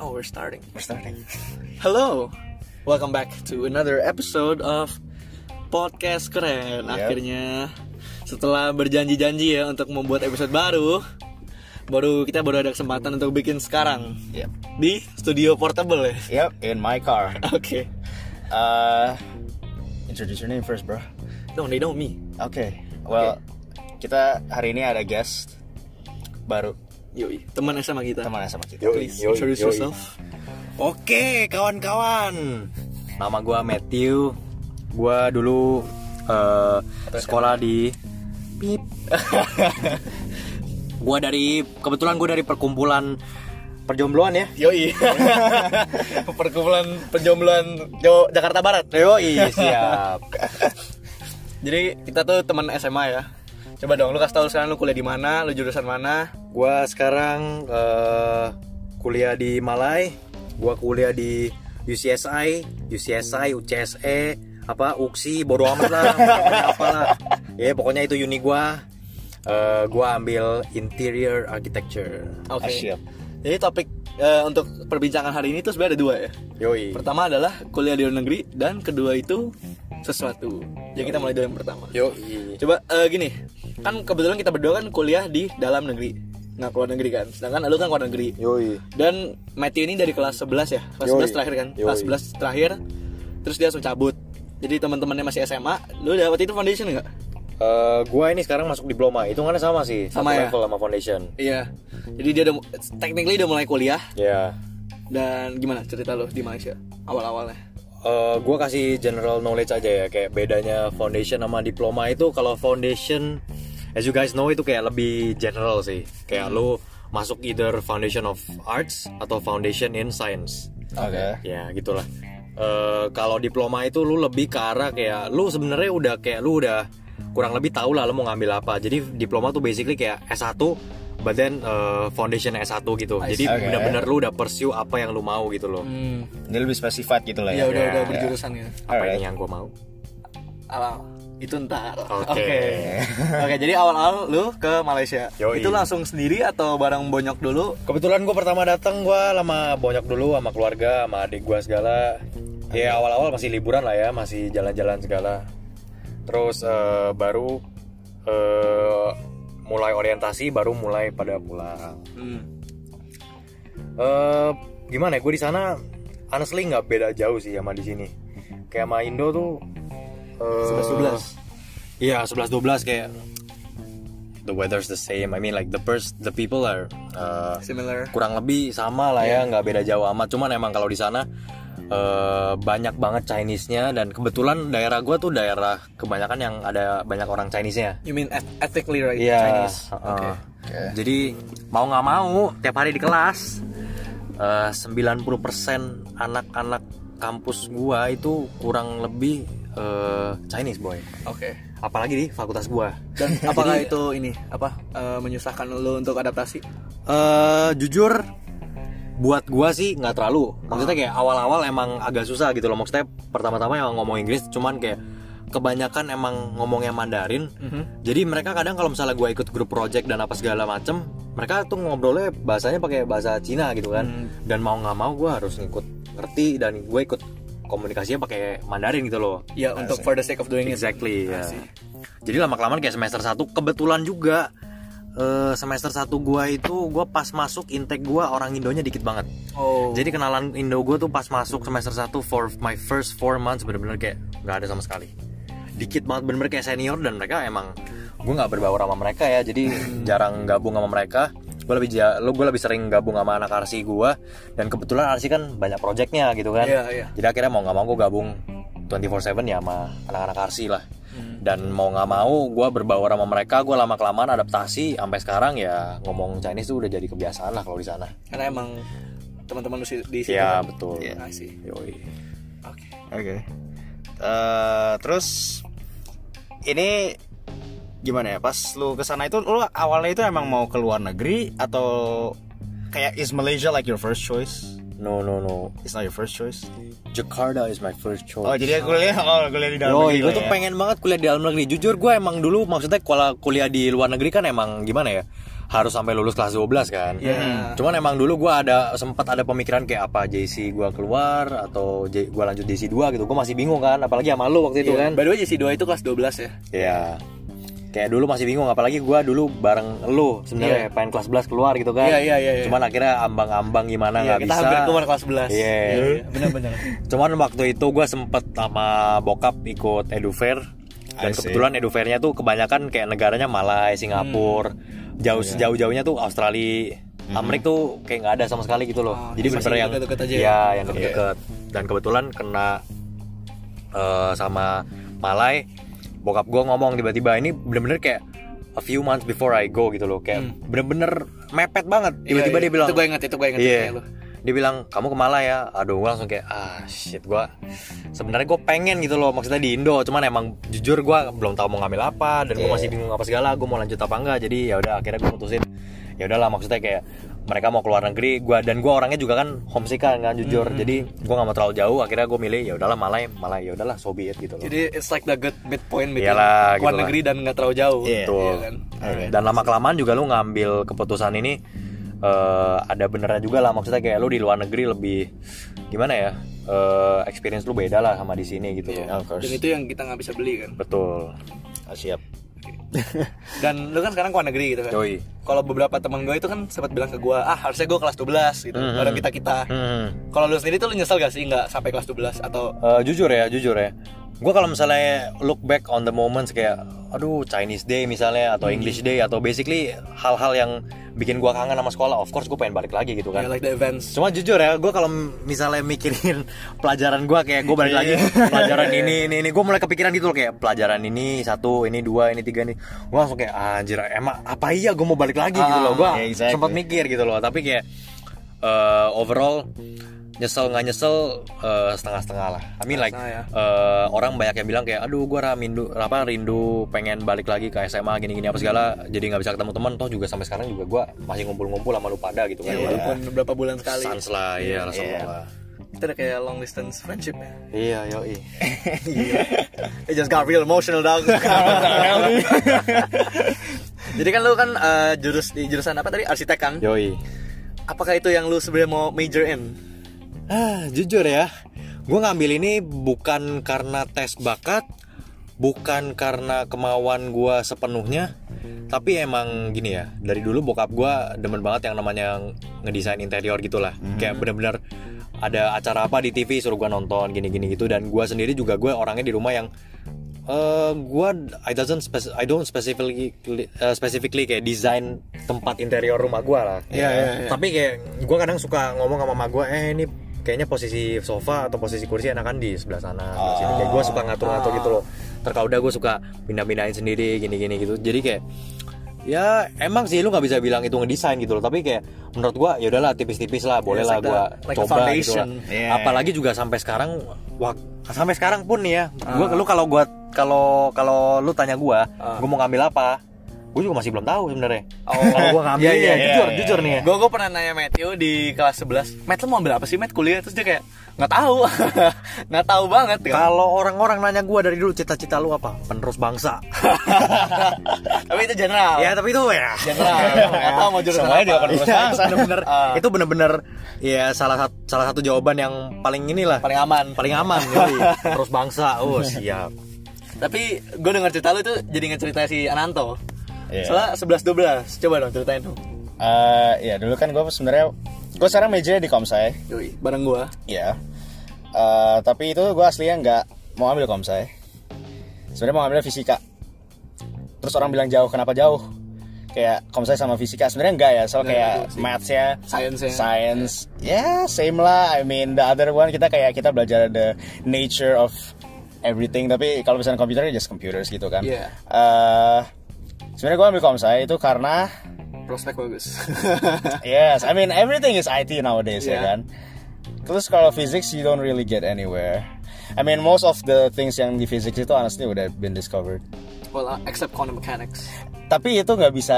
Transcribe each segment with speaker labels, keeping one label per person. Speaker 1: Oh, we're starting.
Speaker 2: We're starting.
Speaker 1: Hello, welcome back to another episode of podcast keren.
Speaker 2: Yep.
Speaker 1: Akhirnya setelah berjanji-janji ya untuk membuat episode baru, baru kita baru ada kesempatan untuk bikin sekarang
Speaker 2: Yep.
Speaker 1: di studio portable ya.
Speaker 2: Yep. In my car.
Speaker 1: Oke,
Speaker 2: Uh, introduce your name first, bro.
Speaker 1: no, they know me.
Speaker 2: Okay. Well, kita hari ini ada guest baru
Speaker 1: Yoi, teman sama kita.
Speaker 2: teman sama kita.
Speaker 3: Yoi,
Speaker 1: Please
Speaker 3: yoi,
Speaker 1: introduce
Speaker 3: yoi.
Speaker 1: yourself.
Speaker 3: Oke kawan-kawan Nama gua Matthew Gua dulu eh,
Speaker 2: uh,
Speaker 3: sekolah di Pip Gua dari Kebetulan gua dari perkumpulan Perjombloan ya
Speaker 1: Yoi. Perkumpulan penjombloan Jo- Jakarta Barat.
Speaker 2: Iya,
Speaker 3: Yoi siap
Speaker 1: Jadi kita tuh teman SMA ya. Coba dong lu kasih tahu sekarang lu kuliah di mana, lu jurusan mana.
Speaker 3: Gua sekarang eh, kuliah di Malai, gua kuliah di UCSI, UCSI, UCSE, E, apa UKSI, bodo amat lah, pokoknya apalah. Ya pokoknya itu uni gua. Eh, gua ambil interior architecture. Eh,
Speaker 1: Oke.
Speaker 2: Asyik.
Speaker 1: Jadi topik eh, untuk perbincangan hari ini tuh sebenarnya ada dua ya.
Speaker 3: Yoi.
Speaker 1: Pertama adalah kuliah di luar negeri dan kedua itu sesuatu. Jadi kita mulai dari yang pertama.
Speaker 3: Yoi.
Speaker 1: Coba eh, gini, kan kebetulan kita berdua kan kuliah di dalam negeri, nggak keluar negeri kan. Sedangkan lu kan keluar negeri.
Speaker 3: Yoi.
Speaker 1: Dan Matthew ini dari kelas 11 ya Kelas
Speaker 3: Yoi.
Speaker 1: 11 terakhir kan
Speaker 3: Yoi.
Speaker 1: Kelas 11 terakhir Terus dia langsung cabut Jadi teman-temannya masih SMA Lu udah waktu itu foundation nggak?
Speaker 3: Eh, gua ini sekarang masuk diploma, hitungannya sama sih,
Speaker 1: Sama
Speaker 3: satu
Speaker 1: ya?
Speaker 3: level sama foundation.
Speaker 1: Iya Jadi dia udah Technically udah mulai kuliah
Speaker 3: Ya.
Speaker 1: Dan gimana cerita lu di Malaysia Awal-awalnya
Speaker 3: eh gue kasih general knowledge aja ya kayak bedanya foundation sama diploma itu kalau foundation as you guys know itu kayak lebih general sih kayak lu masuk either foundation of arts atau foundation in science
Speaker 2: Oke.
Speaker 3: ya gitulah Eh kalau diploma itu lu lebih ke arah kayak lu sebenarnya udah kayak lu udah kurang lebih tahu lah lu mau ngambil apa jadi diploma tuh basically kayak S1 but then eh, foundation S1 gitu jadi
Speaker 2: see.
Speaker 3: benar-benar lu udah pursue apa yang lu mau gitu loh
Speaker 1: Hmm
Speaker 2: Dia lebih spesified gitu lah
Speaker 1: Ya
Speaker 2: ya.
Speaker 1: udah
Speaker 3: ya,
Speaker 1: udah
Speaker 3: ya.
Speaker 1: berjurusan gitu
Speaker 3: apa
Speaker 2: Alright.
Speaker 3: ini yang gua mau
Speaker 1: Awal itu ntar
Speaker 3: Oke.
Speaker 1: Oke, jadi awal-awal lu ke Malaysia
Speaker 3: Yoi.
Speaker 1: Itu langsung sendiri atau bareng bonyok dulu
Speaker 3: Kebetulan gue pertama datang gue lama bonyok dulu sama keluarga, sama adik gue segala. Ya awal-awal masih liburan lah ya, masih jalan-jalan segala. Terus eh, baru eh, mulai orientasi, baru mulai pada pulang.
Speaker 1: Hmm.
Speaker 3: Eh gimana ya gue di sana honestly nggak beda jauh sih sama di sini kayak sama Indo tuh eh
Speaker 1: 11-12.
Speaker 3: iya 11 12 kayak the weather's the same I mean like the pers the people are eh,
Speaker 1: Similar
Speaker 3: kurang lebih sama lah ya nggak beda jauh amat cuman emang kalau di sana eh, banyak banget Chinese-nya dan kebetulan daerah gue tuh daerah kebanyakan yang ada banyak orang Chinese-nya
Speaker 1: You mean eth- ethnically right?
Speaker 3: Iya.
Speaker 1: Chinese
Speaker 3: heeh.
Speaker 1: Oke.
Speaker 3: Jadi mau nggak mau tiap hari di kelas eh, 90% anak-anak kampus gua itu kurang lebih eh, Chinese boy.
Speaker 1: Oke.
Speaker 3: Apalagi di fakultas gua.
Speaker 1: Dan apakah itu ini apa eh, menyusahkan lo untuk adaptasi?
Speaker 3: Eh, jujur Ah. buat gua sih nggak terlalu. Maksudnya kayak awal-awal emang agak susah gitu loh. Maksudnya pertama-tama emang ngomong Inggris cuman kayak kebanyakan emang ngomongnya Mandarin. Jadi mereka kadang kalau misalnya gua ikut grup project dan apa segala macem mereka tuh ngobrolnya bahasanya pakai bahasa Cina gitu kan. Dan mau nggak mau gua harus ngikut ngerti dan gue ikut komunikasinya pakai Mandarin gitu loh.
Speaker 1: Ya untuk for the sake of doing it.
Speaker 3: Exactly. ya.
Speaker 1: Asik.
Speaker 3: Jadi lama kelamaan kayak semester 1 kebetulan juga eh, semester 1 gua itu gua pas masuk intake gua orang Indonya dikit banget.
Speaker 1: Oh.
Speaker 3: Jadi kenalan Indo gua tuh pas masuk semester 1 for my first four months bener-bener kayak nggak ada sama sekali. Dikit banget bener-bener kayak senior dan mereka emang gua nggak berbaur sama mereka ya. Jadi jarang gabung sama mereka. Gue lebih ja- lu gua lebih sering gabung sama anak Arsi gua dan kebetulan Arsi kan banyak projectnya gitu kan.
Speaker 1: Iya, iya.
Speaker 3: Jadi akhirnya mau nggak mau gue gabung 24/7 ya sama anak-anak Arsi lah. Dan mau nggak mau gue berbaur sama mereka, gue lama kelamaan adaptasi sampai sekarang ya ngomong Chinese tuh udah jadi kebiasaan lah kalau di sana.
Speaker 1: Karena emang teman-teman lu si- di situ.
Speaker 3: Iya
Speaker 1: kan?
Speaker 3: betul.
Speaker 1: Iya, I see.
Speaker 3: Yoi.
Speaker 1: Oke.
Speaker 2: Oke. Eh, terus ini gimana ya? Pas lu kesana itu lu awalnya itu emang mau ke luar negeri atau kayak is Malaysia like your first choice?
Speaker 3: No no no.
Speaker 2: It's not your first choice.
Speaker 3: Jakarta is my first choice.
Speaker 2: Oh jadi aku kuliah oh kuliah di dalam.
Speaker 3: Yo,
Speaker 2: negeri
Speaker 3: gue
Speaker 2: lah
Speaker 3: tuh
Speaker 2: ya.
Speaker 3: pengen banget kuliah di dalam negeri. Jujur gue emang dulu maksudnya kalau kuliah di luar negeri kan emang gimana ya? Harus sampai lulus kelas 12 kan.
Speaker 1: Iya.
Speaker 3: Cuman emang dulu gue ada sempat ada pemikiran kayak apa JC gue keluar atau J, gue lanjut JC 2 gitu. Gue masih bingung kan, apalagi sama lu waktu itu kan.
Speaker 1: By the way JC 2 itu kelas 12 ya.
Speaker 3: Iya. Kayak dulu masih bingung apalagi gua dulu bareng lu sebenarnya pengen kelas 11 keluar gitu kan.
Speaker 1: Iya, iya, iya, iya.
Speaker 3: Cuman akhirnya ambang-ambang gimana
Speaker 1: Iya,
Speaker 3: nggak
Speaker 1: kita
Speaker 3: bisa.
Speaker 1: hampir keluar kelas 11.
Speaker 3: Iya.
Speaker 1: benar-benar.
Speaker 3: Cuman waktu itu gua sempet sama bokap ikut edufair dan
Speaker 2: I see.
Speaker 3: kebetulan edufairnya tuh kebanyakan kayak negaranya Malai, Singapura,
Speaker 1: Hmm.
Speaker 3: jauh sejauh-jauhnya tuh Australia, Amerika tuh kayak nggak ada sama sekali gitu loh.
Speaker 1: Oh,
Speaker 3: Jadi
Speaker 1: masih
Speaker 3: bener yang
Speaker 1: deket-deket aja ya?
Speaker 3: ya, yang deket-deket. Dan kebetulan kena eh, sama Malai, bokap gua ngomong tiba-tiba ini bener-bener kayak a few months before I go gitu loh, kayak bener-bener mepet banget. Tiba-tiba dia
Speaker 1: Hmm. Iya,
Speaker 3: bilang
Speaker 1: Itu gue ingat, itu gue ingat.
Speaker 3: Iya.
Speaker 1: kayak lu.
Speaker 3: Dia bilang kamu kemana ya? Aduh, gue langsung kayak ah shit gue. Sebenarnya gue pengen gitu loh maksudnya di Indo, cuman emang jujur gue belum tahu mau ngambil apa dan gue
Speaker 1: Iya.
Speaker 3: masih bingung apa segala. Gue mau lanjut apa enggak? Jadi ya udah akhirnya gue mutusin. Ya udahlah maksudnya kayak mereka mau keluar negeri, gua dan gue orangnya juga kan homesick-an kan jujur.
Speaker 1: Mm-hmm.
Speaker 3: Jadi gue nggak mau terlalu jauh. Akhirnya gue milih ya udahlah Malai, Malai ya udahlah so be it gitu loh.
Speaker 1: Jadi it's like the good midpoint between
Speaker 3: Iyalah,
Speaker 1: keluar
Speaker 3: gitu lah.
Speaker 1: negeri dan nggak terlalu jauh.
Speaker 2: Iya.
Speaker 3: Betul.
Speaker 1: Iya kan?
Speaker 3: Dan lama kelamaan juga lu ngambil keputusan ini eh, ada benernya juga lah maksudnya kayak lu di luar negeri lebih gimana ya? eh, experience lu beda lah sama di sini gitu loh.
Speaker 2: Yeah, Iya, of course.
Speaker 1: Dan itu yang kita nggak bisa beli kan.
Speaker 3: Betul.
Speaker 2: Ah, siap.
Speaker 1: Dan lu kan sekarang keluar negeri gitu kan.
Speaker 3: Yoi.
Speaker 1: Kalau beberapa teman gue itu kan sempat bilang ke gue, ah harusnya gue kelas 12 gitu.
Speaker 3: Mhm.
Speaker 1: Baru kita kita.
Speaker 3: Hmm.
Speaker 1: Kalau lu sendiri tuh lu nyesel gak sih nggak sampai kelas 12 atau
Speaker 3: Eh, jujur ya, jujur ya. Gue kalau misalnya look back on the moments kayak aduh Chinese Day misalnya
Speaker 2: Hmm.
Speaker 3: atau English Day atau basically hal-hal yang bikin gua kangen sama sekolah, of course gue pengen balik lagi
Speaker 2: Iya,
Speaker 3: gitu kan.
Speaker 1: ya, like the events?
Speaker 3: Cuma jujur ya, gue kalau misalnya mikirin pelajaran gue kayak gue balik lagi pelajaran ini ini ini gue mulai kepikiran gitu loh kayak pelajaran ini satu ini dua ini tiga ini gue langsung kayak anjir emang apa iya gue mau balik lagi gitu loh gue
Speaker 2: yeah, exactly.
Speaker 3: sempat mikir gitu loh tapi kayak eh, overall nyesel nggak nyesel eh, setengah-setengah lah. I mean like
Speaker 1: Setengah
Speaker 3: eh, orang banyak yang bilang kayak aduh gue rindu apa rindu pengen balik lagi ke SMA gini-gini apa segala jadi nggak bisa ketemu teman toh juga sampai sekarang juga gue masih ngumpul-ngumpul sama lu pada gitu kan.
Speaker 1: Ya,
Speaker 3: Walaupun
Speaker 1: walaupun beberapa bulan sekali.
Speaker 3: Sans lah, iya langsung
Speaker 2: Iya.
Speaker 3: lah.
Speaker 1: Kita udah kayak long distance friendship ya.
Speaker 3: Iya, yoi.
Speaker 1: It just got real emotional dog. Jadi kan lu kan eh, jurus di jurusan apa tadi arsitek kan?
Speaker 3: Yoi.
Speaker 1: Apakah itu yang lu sebenarnya mau major in?
Speaker 3: Ah, jujur ya, gue ngambil ini bukan karena tes bakat, bukan karena kemauan gue sepenuhnya, tapi emang gini ya, dari dulu bokap gue demen banget yang namanya ngedesain interior gitulah, kayak bener-bener ada acara apa di TV suruh gue nonton gini-gini gitu, dan gue sendiri juga gue orangnya di rumah yang eh gua I doesn't spec- I don't specifically eh, specifically kayak desain tempat interior rumah gua lah. Tapi kayak gua kadang suka ngomong sama mama gua, eh ini kayaknya posisi sofa atau posisi kursi enakan di sebelah sana. sebelah sini." Kayak gua suka ngatur-ngatur gitu loh. Terkauda gua suka pindah-pindahin sendiri gini-gini gitu. Jadi kayak ya emang sih lu nggak bisa bilang itu ngedesain gitu loh tapi kayak menurut gua ya udahlah tipis-tipis lah boleh lah
Speaker 1: like the-
Speaker 3: gua
Speaker 1: like the
Speaker 3: coba gitu lah.
Speaker 1: foundation.
Speaker 2: Iya.
Speaker 3: apalagi juga sampai sekarang wak, sampai sekarang pun nih ya gua lu kalau gua kalau kalau lu tanya gua gua mau ngambil apa gua juga masih belum tahu sebenarnya kalau Oh, gua ngambil
Speaker 1: Iya, iya,
Speaker 3: ya,
Speaker 1: iya,
Speaker 3: jujur
Speaker 2: iya.
Speaker 3: jujur nih ya
Speaker 1: Gue gue pernah nanya Matthew di kelas 11 Matt lu mau ambil apa sih Matt kuliah Terus dia kayak nggak tahu nggak tahu banget kan
Speaker 3: kalau orang-orang nanya gua dari dulu cita-cita lu apa penerus bangsa
Speaker 1: Tapi itu general
Speaker 3: ya tapi itu ya
Speaker 1: General Nggak tahu mau jurusan
Speaker 2: Semuanya
Speaker 1: apa
Speaker 2: juga penerus
Speaker 3: Iya, itu bener-bener
Speaker 1: Ah.
Speaker 3: itu bener-bener ya salah satu salah satu jawaban yang paling inilah
Speaker 1: Paling aman
Speaker 3: paling aman yoi. terus bangsa oh siap
Speaker 1: Tapi gue denger cerita lu tuh jadi inget cerita si Ananto
Speaker 2: Iya.
Speaker 1: Soalnya 11-12 Coba dong ceritain dong
Speaker 2: Eh, ya dulu kan gue sebenarnya gue sekarang majornya di komsai.
Speaker 1: Yoi, bareng gue
Speaker 2: Ya. Eh, tapi itu gue aslinya nggak mau ambil komsai. Sebenarnya mau ambil fisika. Terus orang bilang jauh, kenapa jauh? Kayak komsai sama fisika sebenarnya enggak ya, soal
Speaker 1: Nggak,
Speaker 2: kayak
Speaker 1: nggak sih.
Speaker 2: maths ya,
Speaker 1: Science ya.
Speaker 2: science, ya same lah. I mean the other one kita kayak kita belajar the nature of everything. Tapi kalau misalnya komputer ya just computers gitu kan.
Speaker 1: Iya.
Speaker 2: Eh, sebenarnya gue ambil komsai itu karena
Speaker 1: Prospek bagus
Speaker 2: Yes, I mean everything is IT nowadays,
Speaker 1: Yeah.
Speaker 2: ya kan. Terus kalau physics you don't really get anywhere. I mean most of the things yang di physics itu honestly udah been discovered.
Speaker 1: Well, uh, except quantum mechanics
Speaker 2: Tapi itu nggak bisa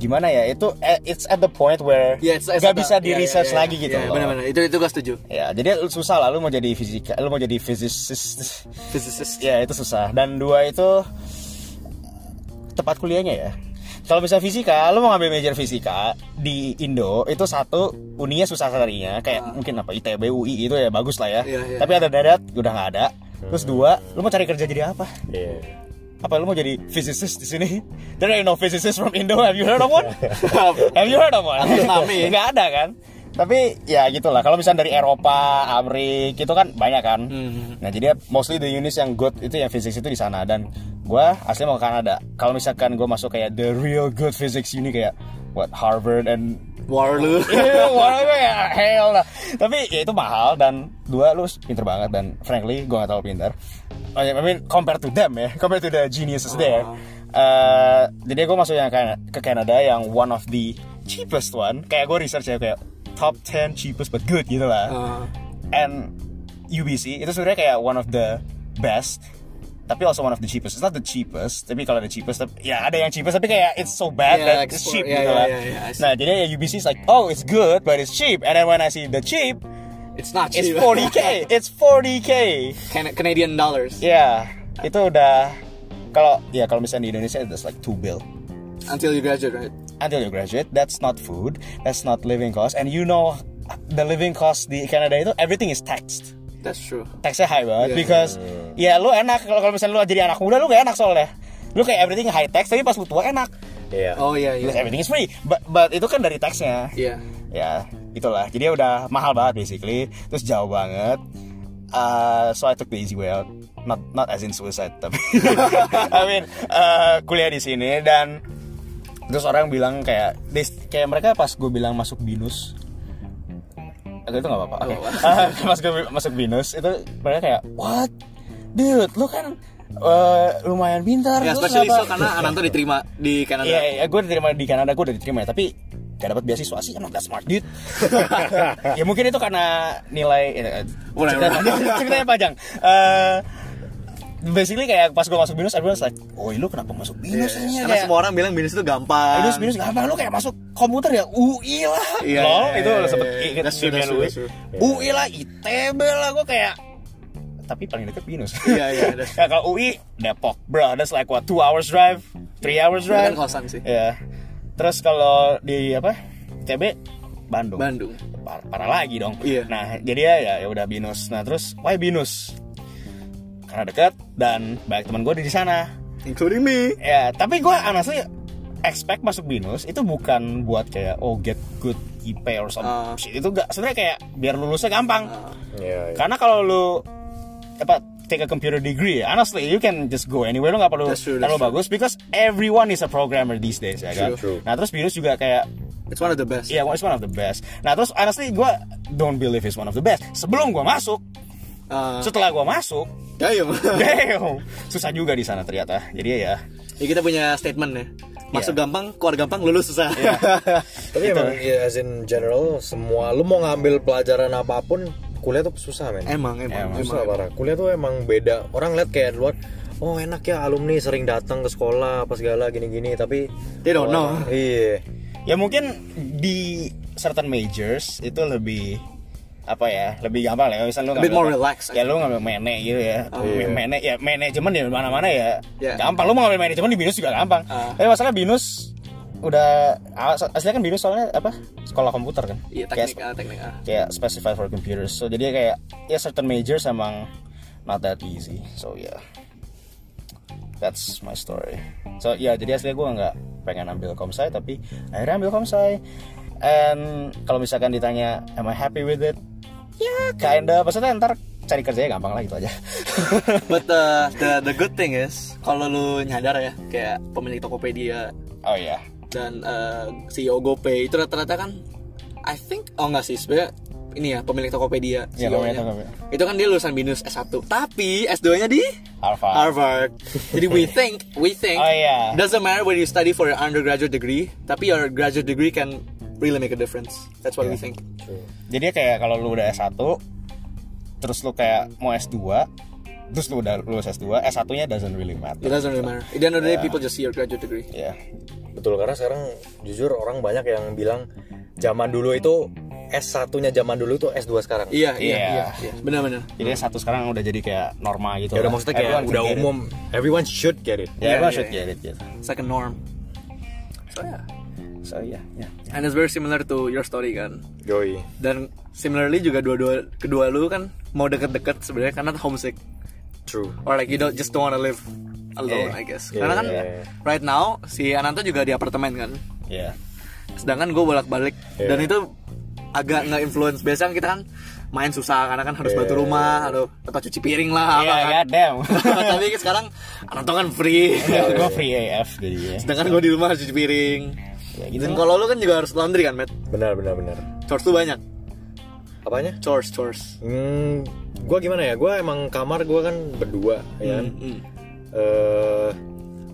Speaker 2: gimana ya itu eh, it's at the point where
Speaker 1: Ya, it's- it's
Speaker 2: nggak
Speaker 1: about-
Speaker 2: bisa di
Speaker 1: ya, ya,
Speaker 2: research
Speaker 1: ya, ya.
Speaker 2: lagi gitu
Speaker 1: Ya,
Speaker 2: loh.
Speaker 1: benar-benar. Itu itu gue setuju.
Speaker 2: Ya, jadi susah lah lu mau jadi fisika, lu mau jadi physicist.
Speaker 1: Physicist.
Speaker 2: ya, itu susah. Dan dua itu tepat kuliahnya ya. Kalau bisa fisika, lu mau ngambil major fisika di Indo itu satu uninya susah sekalinya kayak mungkin apa ITB UI itu ya bagus lah ya.
Speaker 1: Ah. Iya, iya.
Speaker 2: Tapi ada dadat udah nggak ada. Terus dua, lu mau cari kerja jadi apa?
Speaker 3: Iya.
Speaker 2: Apa lu mau jadi physicist di sini? There ain't no physicist from Indo. Have you heard of one? Have you heard of one?
Speaker 1: Tsunami.
Speaker 2: Nggak ada kan? Tapi ya gitulah. Kalau misalnya dari Eropa, Amerika itu kan banyak kan.
Speaker 1: Hmm.
Speaker 2: Nah jadi mostly the unis yang good itu yang physics itu di sana dan gue asli mau ke Kanada. Kalau misalkan gue masuk kayak the real good physics uni kayak what Harvard and
Speaker 1: War lu.
Speaker 2: Iya, warna gue ya hell lah. Tapi ya itu mahal dan dua lu pinter banget dan frankly gue gak tau pinter. Oh, ya, I mean compare to them ya, compare to the geniuses there. Eh, jadi gue masuk yang Kana- ke Kanada yang one of the cheapest one. Kayak gue research ya kayak top 10 cheapest but good gitu lah.
Speaker 1: Ah.
Speaker 2: And UBC itu sebenarnya kayak one of the best tapi also one of the cheapest. It's not the cheapest, tapi kalau the cheapest, tapi, ya ada yang cheapest, tapi kayak it's so bad
Speaker 1: Yeah,
Speaker 2: that
Speaker 1: like
Speaker 2: it's
Speaker 1: for-
Speaker 2: cheap
Speaker 1: yeah,
Speaker 2: gitu
Speaker 1: yeah,
Speaker 2: lah.
Speaker 1: yeah, yeah, I see.
Speaker 2: Nah jadi ya UBC is like, oh it's good, but it's cheap. And then when I see the cheap,
Speaker 1: It's not
Speaker 2: it's
Speaker 1: cheap.
Speaker 2: 40k, it's 40k.
Speaker 1: Can- Canadian dollars.
Speaker 2: Ya, itu udah kalau ya kalau misalnya di Indonesia it's like two bill.
Speaker 1: Until you graduate, right?
Speaker 2: Until you graduate, that's not food, that's not living cost, and you know the living cost di Kanada itu everything is taxed.
Speaker 1: That's true.
Speaker 2: Taxnya high banget
Speaker 1: Yeah.
Speaker 2: because ya lu enak kalau kalau misalnya lu jadi anak muda lu gak enak soalnya. Lu kayak everything high tax tapi pas lu tua enak.
Speaker 3: Iya.
Speaker 1: Oh iya
Speaker 2: Because
Speaker 1: iya.
Speaker 2: everything is free. But, but itu kan dari taxnya.
Speaker 1: Iya.
Speaker 2: ya itulah jadi udah mahal banget basically terus jauh banget Uh, so I took the easy way out not not as in suicide tapi I mean uh, kuliah di sini dan terus orang bilang kayak they, kayak mereka pas gue bilang masuk binus Oke, itu nggak apa-apa oke Ah, pas gue masuk binus itu mereka kayak what dude lu kan uh, lumayan pintar
Speaker 1: Ya,
Speaker 2: terus
Speaker 1: especially so
Speaker 2: kenapa-
Speaker 1: karena Ananto diterima di Kanada.
Speaker 2: Iya, iya, gue diterima di Kanada, gue udah diterima ya, tapi gak dapat beasiswa sih, I'm not that smart dude. ya mungkin itu karena nilai eh,
Speaker 1: Udah,
Speaker 2: ceritanya, ceritanya panjang. Eh, basically kayak pas gue masuk binus, everyone's like, "Oi, lu kenapa masuk binus
Speaker 1: Iya,
Speaker 2: ini?"
Speaker 3: Karena semua orang bilang binus itu gampang.
Speaker 2: binus binus gak apa lu kayak masuk komputer ya UI lah
Speaker 1: Iya,
Speaker 2: Lol,
Speaker 1: iya,
Speaker 2: itu
Speaker 1: iya,
Speaker 2: udah sempet
Speaker 1: iya, iya.
Speaker 2: inget
Speaker 1: That's true,
Speaker 2: email
Speaker 1: that's true,
Speaker 2: gue.
Speaker 1: that's true. Iya.
Speaker 2: UI lah ITB lah gue kayak tapi paling deket binus
Speaker 1: Iya, iya, that's
Speaker 2: Nah, kalau UI Depok bro that's like what 2 hours drive 3 hours
Speaker 1: Bukan
Speaker 2: drive
Speaker 1: Kan kosan sih.
Speaker 2: Ya. Terus kalau di apa? TB Bandung.
Speaker 1: Bandung.
Speaker 2: Par- Parah lagi dong.
Speaker 1: Iya.
Speaker 2: Nah, jadi ya ya- ya udah binus. Nah, terus why binus? Karena dekat dan banyak teman gue di sana.
Speaker 1: Including me.
Speaker 2: Ya, tapi gue honestly expect masuk binus itu bukan buat kayak oh get good IP or
Speaker 1: Ah.
Speaker 2: something. shit. Itu enggak sebenarnya kayak biar lulusnya gampang.
Speaker 3: Iya. iya.
Speaker 2: Karena kalau lu apa take a computer degree, honestly you can just go anywhere lu nggak perlu
Speaker 1: That's true, that's
Speaker 2: terlalu
Speaker 1: true.
Speaker 2: bagus because everyone is a programmer these days ya kan.
Speaker 3: True. True.
Speaker 2: Nah terus Binus juga kayak
Speaker 1: It's one of the best.
Speaker 2: ya it's one of the best. Nah terus honestly gue don't believe it's one of the best. Sebelum gue masuk,
Speaker 1: Ah,
Speaker 2: setelah gue masuk,
Speaker 1: damn.
Speaker 2: damn susah juga di sana ternyata. Jadi ya
Speaker 1: ya kita punya statement ya. Masuk gampang, keluar gampang, lulus susah.
Speaker 3: Tapi emang ya, as in general semua lu mau ngambil pelajaran apapun kuliah tuh susah men.
Speaker 1: emang, emang,
Speaker 2: Emang.
Speaker 1: emang.
Speaker 3: susah parah. Kuliah tuh emang beda. Orang lihat kayak luar Oh enak ya alumni sering datang ke sekolah apa segala gini-gini tapi
Speaker 1: They don't know.
Speaker 3: orang- Iya.
Speaker 2: ya mungkin di certain majors itu lebih apa ya lebih gampang lah ya
Speaker 1: A
Speaker 2: misalnya lu
Speaker 1: bit more
Speaker 2: ngambil-
Speaker 1: relaxed, Oh,
Speaker 2: ya lu ngambil mene gitu ya
Speaker 3: Iya.
Speaker 2: mene ya manajemen di mana mana ya
Speaker 1: Yeah.
Speaker 2: gampang lu mau ngambil manajemen di binus juga gampang
Speaker 1: Ah.
Speaker 2: tapi masalah binus udah as- aslinya kan binus soalnya apa sekolah komputer kan
Speaker 1: Iya,
Speaker 2: Kayak
Speaker 1: teknik, ah, teknik. ah.
Speaker 2: kayak specified for computers so jadi kayak ya certain majors emang not that easy so yeah that's my story so ya jadi aslinya gue nggak pengen ambil komsai tapi akhirnya ambil komsai and kalau misalkan ditanya am I happy with it ya kinda maksudnya ntar cari kerjanya gampang lah gitu aja
Speaker 1: But uh, the the good thing is kalau lu nyadar ya kayak pemilik Tokopedia
Speaker 2: oh ya
Speaker 1: dan uh, CEO GoPay itu rata-rata kan I think oh enggak sih sebenarnya ini ya pemilik Tokopedia
Speaker 2: Iya,
Speaker 1: CEO -nya.
Speaker 2: pemilik Tokopedia.
Speaker 1: itu kan dia lulusan binus S1 tapi S2-nya di
Speaker 2: Harvard.
Speaker 1: Harvard. Jadi we think we think
Speaker 2: Oh, iya.
Speaker 1: doesn't matter whether you study for your undergraduate degree tapi your graduate degree can really make a difference. That's what we think.
Speaker 2: jadi kayak kalau lu udah S1 terus lu kayak mau S2 terus lu udah lulus S2 S1 nya doesn't really matter
Speaker 1: It doesn't really matter. At the end of the day people just see your graduate degree.
Speaker 2: ya
Speaker 3: Betul karena sekarang jujur orang banyak yang bilang zaman dulu itu S1-nya zaman dulu itu S2 sekarang.
Speaker 1: Iya, iya,
Speaker 2: Iya.
Speaker 1: iya, iya. Benar-benar.
Speaker 2: Jadi satu sekarang udah jadi kayak normal gitu.
Speaker 3: Ya udah
Speaker 2: lah.
Speaker 3: maksudnya kayak
Speaker 2: Everyone can
Speaker 3: udah
Speaker 2: get it.
Speaker 3: umum, everyone should get it.
Speaker 2: Ya, everyone
Speaker 1: Iya,
Speaker 2: should
Speaker 1: iya.
Speaker 2: get it gitu.
Speaker 1: Second norm. So yeah.
Speaker 2: So yeah, yeah.
Speaker 1: And it's very similar to your story kan.
Speaker 3: Yoi.
Speaker 1: Dan similarly juga dua-dua kedua lu kan mau deket-deket sebenarnya karena homesick
Speaker 3: True.
Speaker 1: or like you don't just don't wanna live alone I
Speaker 2: Yeah.
Speaker 1: guess.
Speaker 3: Yeah,
Speaker 1: Karena kan
Speaker 3: yeah, yeah.
Speaker 1: right now si Ananto juga di apartemen kan.
Speaker 2: Yeah.
Speaker 1: Sedangkan gue bolak-balik
Speaker 3: Yeah.
Speaker 1: dan itu agak nggak influence biasanya kan kita kan main susah karena kan harus
Speaker 3: Yeah.
Speaker 1: batu rumah atau atau cuci piring lah apa
Speaker 2: Yeah,
Speaker 1: kan.
Speaker 2: goddamn.
Speaker 1: Tapi sekarang Ananto kan free.
Speaker 3: Iya.
Speaker 2: Gue free AF jadi ya.
Speaker 1: Sedangkan gue di rumah harus cuci piring.
Speaker 2: Ya, gitu
Speaker 1: Dan
Speaker 2: lah.
Speaker 1: kalau lu kan juga harus laundry kan, Matt?
Speaker 3: Benar benar benar.
Speaker 1: Chores tuh banyak.
Speaker 3: Apanya?
Speaker 1: Chores, chores.
Speaker 3: Hmm, gua gimana ya? Gua emang kamar gua kan berdua ya. kan?
Speaker 1: Mm.
Speaker 3: eh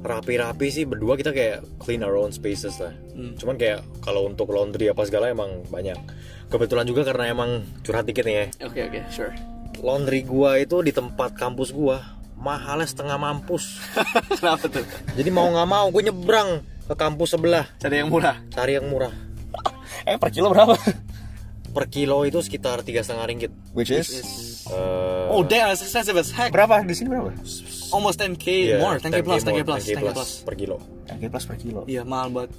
Speaker 3: rapi-rapi sih berdua kita kayak clean our own spaces lah. Cuman kayak kalau untuk laundry apa segala emang banyak. Kebetulan juga karena emang curhat dikit nih ya.
Speaker 1: Oke, oke, sure.
Speaker 3: Laundry gua itu di tempat kampus gua mahalnya setengah mampus.
Speaker 1: Kenapa tuh?
Speaker 3: Jadi mau nggak mau gue nyebrang ke kampus sebelah
Speaker 1: Cari yang murah.
Speaker 3: cari yang murah.
Speaker 2: Eh per kilo berapa?
Speaker 3: Per kilo itu sekitar tiga setengah ringgit.
Speaker 2: Which is
Speaker 3: Eh,
Speaker 1: Oh damn, it's expensive as heck.
Speaker 2: berapa di sini berapa?
Speaker 1: Almost 10k
Speaker 3: iya,
Speaker 1: more, 10k plus, 10k
Speaker 3: more,
Speaker 1: plus, 10k plus.
Speaker 3: per kilo.
Speaker 2: Oke plus per kilo.
Speaker 1: Iya mahal banget.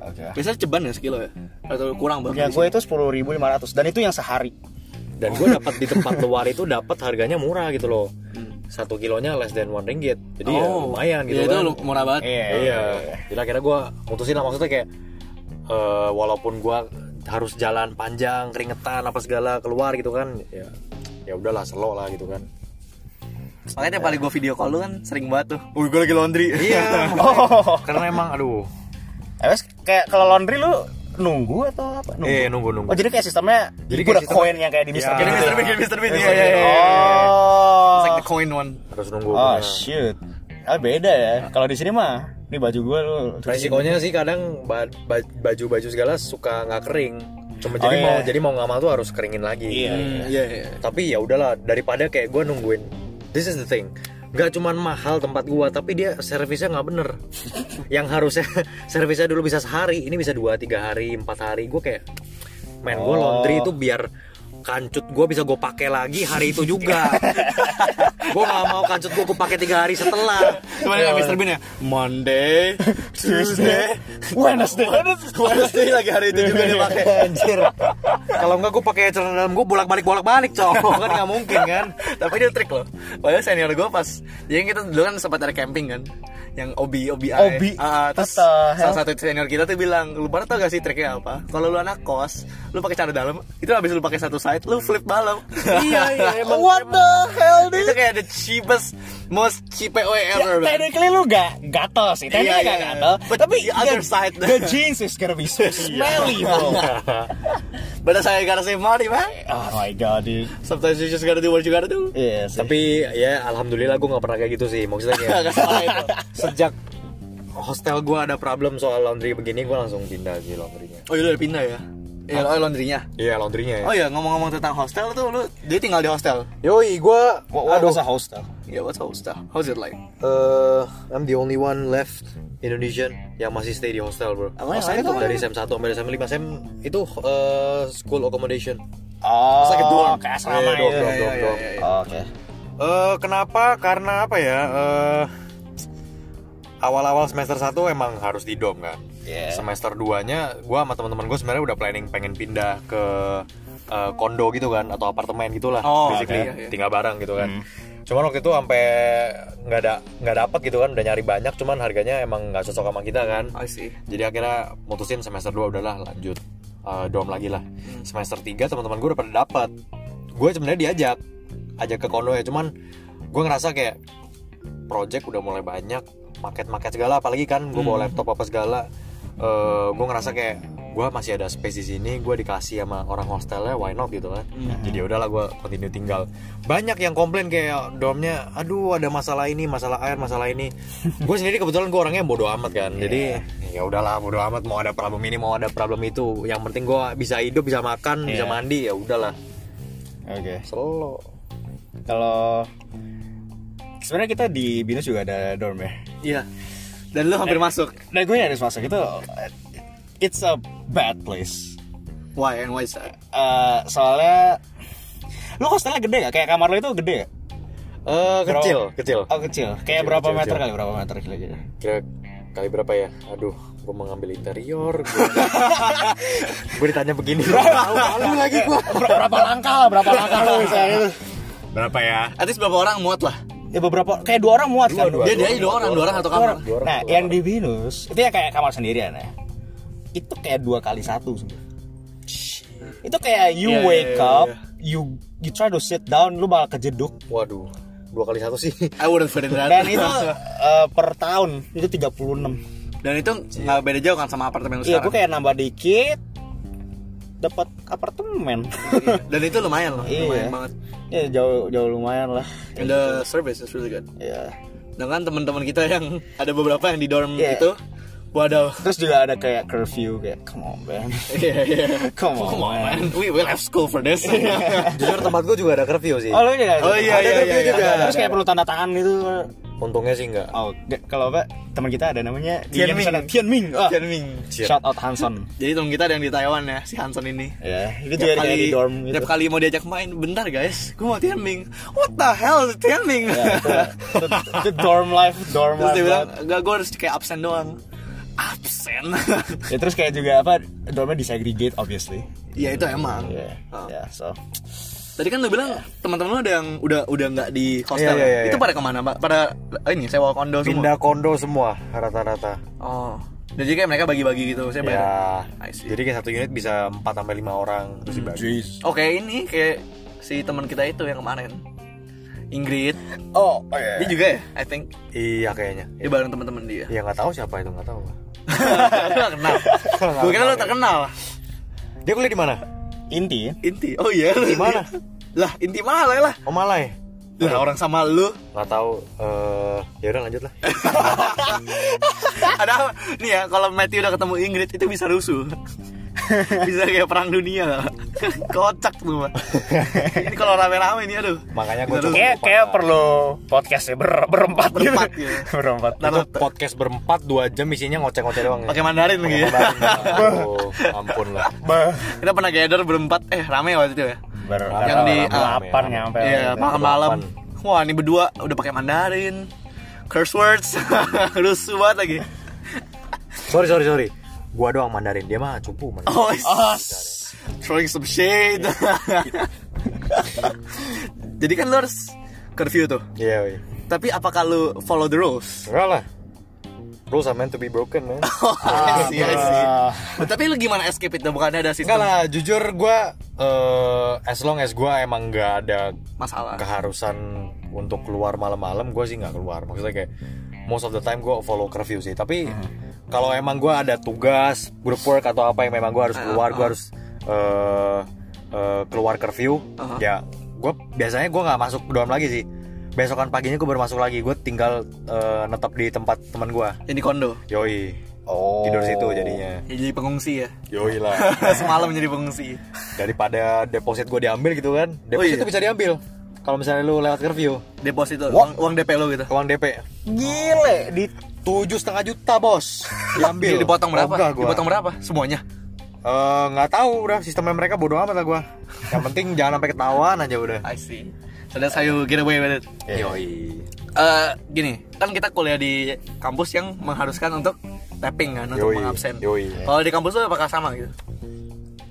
Speaker 2: Oke.
Speaker 1: Biasanya ceban ya sekilo ya? Atau kurang
Speaker 2: Ya
Speaker 1: banget?
Speaker 2: gue itu sepuluh ribu lima ratus dan itu yang sehari.
Speaker 3: Dan gue dapat di tempat luar itu dapat harganya murah gitu loh. Satu kilonya less than one ringgit. Jadi ya lumayan
Speaker 1: Iya,
Speaker 3: gitu kan.
Speaker 1: Hmm. itu murah banget.
Speaker 2: Iya.
Speaker 3: Iya. Jadi akhirnya gue mutusin lah maksudnya kayak eh, walaupun gue harus jalan panjang keringetan apa segala keluar gitu kan ya ya udahlah selo lah gitu kan
Speaker 1: Makanya tiap kali gue video call lu kan sering banget tuh. Wih, gue lagi laundry. Iya.
Speaker 2: Oh.
Speaker 3: karena emang aduh
Speaker 2: Terus kayak kalau laundry lu nunggu atau apa? Nunggu.
Speaker 3: eh nunggu nunggu
Speaker 2: Oh jadi kayak sistemnya
Speaker 3: Jadi
Speaker 2: jadi
Speaker 3: kayak
Speaker 2: udah
Speaker 3: sistemnya-
Speaker 2: koin yang kayak di Mister
Speaker 3: Ya.
Speaker 2: Bean
Speaker 1: Kayak Mr.
Speaker 2: gitu ya?
Speaker 1: Bean, kayak Mr. Bean.
Speaker 3: Mr.
Speaker 1: Iya, iya,
Speaker 3: Bean.
Speaker 1: iya. It's
Speaker 2: Oh.
Speaker 1: like the coin one.
Speaker 3: harus nunggu Nah,
Speaker 2: Oh
Speaker 3: bener.
Speaker 2: shoot. Ah beda ya. Kalau di sini mah ini baju gue lu.
Speaker 3: resikonya sih kadang ba- ba- baju-baju segala suka nggak kering cuma
Speaker 2: Oh,
Speaker 3: jadi
Speaker 2: iya.
Speaker 3: mau jadi mau nggak mau tuh harus keringin lagi
Speaker 2: Iya, iya.
Speaker 1: Iya, iya.
Speaker 3: tapi ya udahlah daripada kayak gue nungguin this is the thing Gak cuman mahal tempat gua tapi dia servisnya nggak bener yang harusnya servisnya dulu bisa sehari ini bisa dua tiga hari empat hari gue kayak main gue
Speaker 2: Oh.
Speaker 3: laundry itu biar kancut gue bisa gue pakai lagi hari itu juga gue nggak mau kancut gue gue pakai tiga hari setelah
Speaker 1: Cuman kayak Mr. Bean ya? Monday, Tuesday,
Speaker 2: Wednesday.
Speaker 1: Wednesday lagi hari itu juga dia pakai.
Speaker 2: Anjir.
Speaker 3: Kalau enggak gue pakai celana dalam gue bolak-balik bolak-balik cowok kan nggak mungkin kan.
Speaker 1: Tapi dia trik loh. Padahal senior gue pas, jadi kita dulu kan sempat ada camping kan, yang obi obi
Speaker 2: Obi.
Speaker 1: Ah, terus
Speaker 2: What the hell?
Speaker 1: salah satu senior kita tuh bilang, lu pada tau gak sih triknya apa? Kalau lu anak kos, lu pakai cara dalam, itu habis lu pakai satu side, lu flip balap.
Speaker 3: Iya, iya, emang-
Speaker 2: What the hell dude?
Speaker 1: itu kayak the cheapest, most cheap way ever.
Speaker 2: Ya,
Speaker 1: bro.
Speaker 2: technically lu gak gatel sih, technically
Speaker 1: Iya,
Speaker 2: gak
Speaker 1: iya.
Speaker 2: gatel
Speaker 1: But
Speaker 2: Tapi
Speaker 1: the other side.
Speaker 2: the jeans is gonna be so smelly bro
Speaker 1: But saya gotta save money, man.
Speaker 2: Oh my god dude
Speaker 1: Sometimes you just gotta do what you gotta do.
Speaker 2: Iya sih.
Speaker 3: Tapi ya alhamdulillah gue nggak pernah kayak gitu sih maksudnya
Speaker 1: Gak
Speaker 3: kayak
Speaker 1: salah itu.
Speaker 3: sejak hostel gue ada problem soal laundry begini gue langsung pindah sih laundrynya.
Speaker 1: Oh, iya, lu udah pindah ya? Iya, oh, laundrynya.
Speaker 3: Iya laundrynya ya.
Speaker 1: Oh iya, ngomong-ngomong tentang hostel tuh lu dia tinggal di hostel.
Speaker 3: Yoi gue
Speaker 2: What, what
Speaker 3: aduh
Speaker 2: was a hostel?
Speaker 1: Yeah, what's hostel? How's it like?
Speaker 3: eh, I'm the only one left Indonesian yang masih stay di hostel bro.
Speaker 1: Apa yang
Speaker 3: Hostel
Speaker 1: lain
Speaker 3: itu
Speaker 1: tuh?
Speaker 3: dari sem 1 sampai sem 5 sem itu eh, school accommodation.
Speaker 2: Oh,
Speaker 1: Sakit doang.
Speaker 2: kayak asrama
Speaker 3: Iya,
Speaker 2: gitu.
Speaker 3: doang, doang, doang.
Speaker 2: Oke
Speaker 3: Eh kenapa? Karena apa ya? Eh awal-awal semester 1 emang harus di dom kan.
Speaker 2: Iya.
Speaker 3: Semester 2-nya gua sama teman-teman gue sebenarnya udah planning pengen pindah ke eh, kondo gitu kan atau apartemen gitulah
Speaker 1: Oh,
Speaker 3: basically
Speaker 1: oke. Iya, iya.
Speaker 3: tinggal bareng gitu kan. Cuman waktu itu sampai nggak ada nggak dapat gitu kan udah nyari banyak cuman harganya emang nggak cocok sama kita kan.
Speaker 1: I see.
Speaker 3: Jadi akhirnya mutusin semester 2 udahlah lanjut eh, dom lagi lah. Semester 3 teman-teman gue udah pada dapat. Gue sebenarnya diajak ajak ke kondo ya cuman gue ngerasa kayak project udah mulai banyak market-market segala apalagi kan gue bawa laptop apa segala Eh, gue ngerasa kayak gue masih ada space di sini gue dikasih sama orang hostelnya why not gitu kan jadi udahlah gue continue tinggal banyak yang komplain kayak domnya aduh ada masalah ini masalah air masalah ini gue sendiri kebetulan gue orangnya bodoh amat kan jadi ya udahlah bodoh amat mau ada problem ini mau ada problem itu yang penting gue bisa hidup bisa makan bisa
Speaker 2: Iya.
Speaker 3: mandi ya udahlah
Speaker 2: Oke
Speaker 3: selo
Speaker 2: Kalau sebenarnya kita di Binus juga ada dorm ya
Speaker 1: Iya. Dan lu hampir masuk.
Speaker 2: Nah gue nyaris masuk itu eh, It's a bad place
Speaker 1: Why and why is that?
Speaker 2: Eh, Soalnya Lu hostelnya gede gak? Kayak kamar lu itu gede gak?
Speaker 3: Eh,
Speaker 2: Berapa-
Speaker 3: kecil, kecil.
Speaker 2: Oh kecil
Speaker 3: Kecil,
Speaker 2: Kayak berapa
Speaker 3: kecil,
Speaker 2: meter
Speaker 3: kecil.
Speaker 2: kali? Berapa meter kali gitu
Speaker 3: Kira kali berapa ya? Aduh, gue mengambil interior. gue ditanya begini. Malu lagi gue.
Speaker 2: Ber- Berapa langkah lah? Berapa langkah lu misalnya gitu. Berapa ya?
Speaker 1: At least berapa orang muat lah.
Speaker 2: Ya beberapa Kayak dua orang muat kan?
Speaker 1: Dia dia aja dua orang, dua orang satu kamar.
Speaker 2: Dua orang. Nah yang di Venus Itu yang kayak kamar sendirian ya Itu kayak dua kali satu sebenarnya itu kayak you
Speaker 1: Iya, iya,
Speaker 2: wake
Speaker 1: iya,
Speaker 2: up,
Speaker 1: iya.
Speaker 2: you you try to sit down, lu bakal kejeduk
Speaker 3: Waduh, dua kali satu sih.
Speaker 1: I wouldn't fit in that.
Speaker 2: dan itu eh, per tahun itu 36
Speaker 1: dan itu nggak beda jauh kan sama apartemen lu
Speaker 2: iya gue
Speaker 1: sekarang.
Speaker 2: kayak nambah dikit dapat apartemen
Speaker 1: Iya. Dan itu lumayan loh,
Speaker 2: Iya.
Speaker 1: lumayan banget.
Speaker 2: ya jauh jauh lumayan lah
Speaker 1: And the service is really good.
Speaker 2: ya
Speaker 1: Dengan teman-teman kita yang ada beberapa yang di dorm
Speaker 2: Iya.
Speaker 1: itu, waduh.
Speaker 2: terus juga ada kayak curfew kayak come on man
Speaker 1: Iya, iya.
Speaker 2: come on,
Speaker 1: Come on,
Speaker 2: man.
Speaker 1: man. We will have school for this.
Speaker 2: Iya.
Speaker 1: Ah.
Speaker 3: Jujur tempat gue juga ada curfew sih.
Speaker 2: oh lu juga
Speaker 1: Oh, iya,
Speaker 2: ada
Speaker 1: iya, iya,
Speaker 2: curfew juga
Speaker 1: iya, ada,
Speaker 2: terus kayak perlu tanda tangan gitu
Speaker 3: Untungnya sih enggak.
Speaker 2: oh nggak, kalau apa teman kita ada namanya di
Speaker 1: Tian
Speaker 2: game
Speaker 1: Ming.
Speaker 2: sana, Tian Ming Ah.
Speaker 1: Tianming.
Speaker 2: shout out Hanson
Speaker 1: Jadi teman kita ada yang di Taiwan ya, si Hanson ini.
Speaker 2: ya itu
Speaker 1: Tiap
Speaker 2: juga kayak di dorm gitu
Speaker 1: tiap kali mau diajak main, bentar guys, gue mau Tianming. What the hell, Tianming?
Speaker 2: Ya, itu, itu- itu dorm life dorm
Speaker 1: Terus
Speaker 2: life
Speaker 1: dia bilang,
Speaker 2: banget.
Speaker 1: enggak, gue harus kayak absen doang. Absen?
Speaker 2: ya terus kayak juga apa dormnya disegregate obviously
Speaker 1: ya itu emang.
Speaker 2: ya
Speaker 1: Oh.
Speaker 2: ya so
Speaker 1: Tadi kan lu bilang teman-teman lu ada yang udah udah nggak di hostel. ya?
Speaker 3: Iya, iya, iya,
Speaker 1: Itu
Speaker 3: iya.
Speaker 1: pada kemana, Pak? Pada eh, ini sewa kondo semua.
Speaker 3: Pindah kondo semua rata-rata.
Speaker 1: Oh. Dan jadi kayak mereka bagi-bagi gitu, saya bayar.
Speaker 3: Ya.
Speaker 1: I see.
Speaker 3: Jadi kayak satu unit bisa 4 sampai 5 orang terus dibagi.
Speaker 2: jeez
Speaker 1: Oke, ini kayak si teman kita itu yang kemarin. Ingrid,
Speaker 2: oh oh, iya.
Speaker 1: dia juga ya, I think.
Speaker 3: Iya kayaknya.
Speaker 1: Dia bareng teman-teman dia.
Speaker 3: Ya nggak tahu siapa itu nggak tahu.
Speaker 1: Lu gak kenal. Gue kira lu tak kenal.
Speaker 3: Dia kuliah di mana?
Speaker 2: inti
Speaker 1: Inti. Oh iya. Inti
Speaker 3: mana?
Speaker 1: lah, inti Malai lah.
Speaker 3: Oh Malai.
Speaker 1: Lah orang sama lu.
Speaker 3: Nggak tahu. Eh ya udah lanjut lah.
Speaker 1: Ada apa? nih ya kalau Matthew udah ketemu Ingrid itu bisa rusuh. bisa kayak perang dunia lah. Kocak tuh. Pak. ini kalau rame-rame nih aduh.
Speaker 3: Makanya
Speaker 1: Bisa
Speaker 3: gue
Speaker 1: rusuh.
Speaker 2: kayak kayak perlu podcastnya ber, berempat gitu.
Speaker 1: Berempat, ya.
Speaker 2: berempat
Speaker 1: Ntar
Speaker 3: itu
Speaker 1: lu t-
Speaker 3: podcast berempat dua jam isinya ngoceh-ngoceh doang.
Speaker 1: pakai Mandarin lagi ya.
Speaker 3: Aduh, ampun lah.
Speaker 2: Be-
Speaker 1: Kita pernah gather berempat eh rame waktu itu ya.
Speaker 2: ber
Speaker 1: Yang di- ah.
Speaker 2: delapan ya,
Speaker 3: rame.
Speaker 2: nyampe
Speaker 1: Iya, malam-malam.
Speaker 3: delapan.
Speaker 1: Wah, ini berdua udah pakai Mandarin. Curse words. rusuh banget lagi.
Speaker 3: Sorry sorry sorry. Gua doang Mandarin dia mah cupu Mandarin.
Speaker 1: Oh, is-
Speaker 3: Ah,
Speaker 1: throwing some shade. Jadi kan lu harus curfew tuh.
Speaker 3: Iya, iya.
Speaker 1: Tapi apakah lu follow the rules? Oh,
Speaker 3: Enggak lah. Rules are meant to be broken, man.
Speaker 1: I see, I see. Nah,
Speaker 2: Ah.
Speaker 1: Tapi lu gimana escape itu? Bukannya ada
Speaker 3: Enggak
Speaker 1: sistem
Speaker 3: lah, jujur gua eh as long as gua emang nggak ada
Speaker 1: masalah?
Speaker 3: keharusan untuk keluar malam-malam gue sih nggak keluar maksudnya kayak most of the time gue follow curfew sih tapi kalau emang gue ada tugas group work atau apa yang memang gue harus keluar gue harus eh, eh, keluar curfew ya gue biasanya gue nggak masuk dorm lagi sih besokan paginya gue baru masuk lagi gue tinggal eh, netep di tempat teman gue
Speaker 1: Yang di kondo.
Speaker 3: yoi
Speaker 2: oh
Speaker 3: tidur situ jadinya
Speaker 1: Ya, jadi pengungsi ya.
Speaker 3: yoi lah
Speaker 1: Semalam jadi pengungsi.
Speaker 3: daripada deposit gue diambil gitu kan
Speaker 1: iya.
Speaker 3: deposit itu bisa diambil kalau misalnya lu lewat curfew
Speaker 1: Deposito, uang, uang DP lu gitu.
Speaker 3: uang DP
Speaker 2: gile di
Speaker 3: tujuh setengah juta bos
Speaker 1: Di-
Speaker 3: diambil
Speaker 1: dipotong berapa?
Speaker 3: Ogah gua.
Speaker 1: Dipotong berapa? Semuanya.
Speaker 3: Eh, nggak tahu udah sistemnya mereka bodoh amat lah gua yang penting jangan sampai ketahuan aja udah
Speaker 1: I see. So that's how you get away with it.
Speaker 3: yoi
Speaker 1: Eh, gini, kan kita kuliah di kampus yang mengharuskan untuk tapping kan, untuk
Speaker 3: Yoi,
Speaker 1: mengabsen.
Speaker 3: yoi.
Speaker 1: Kalau di kampus lu apakah sama gitu?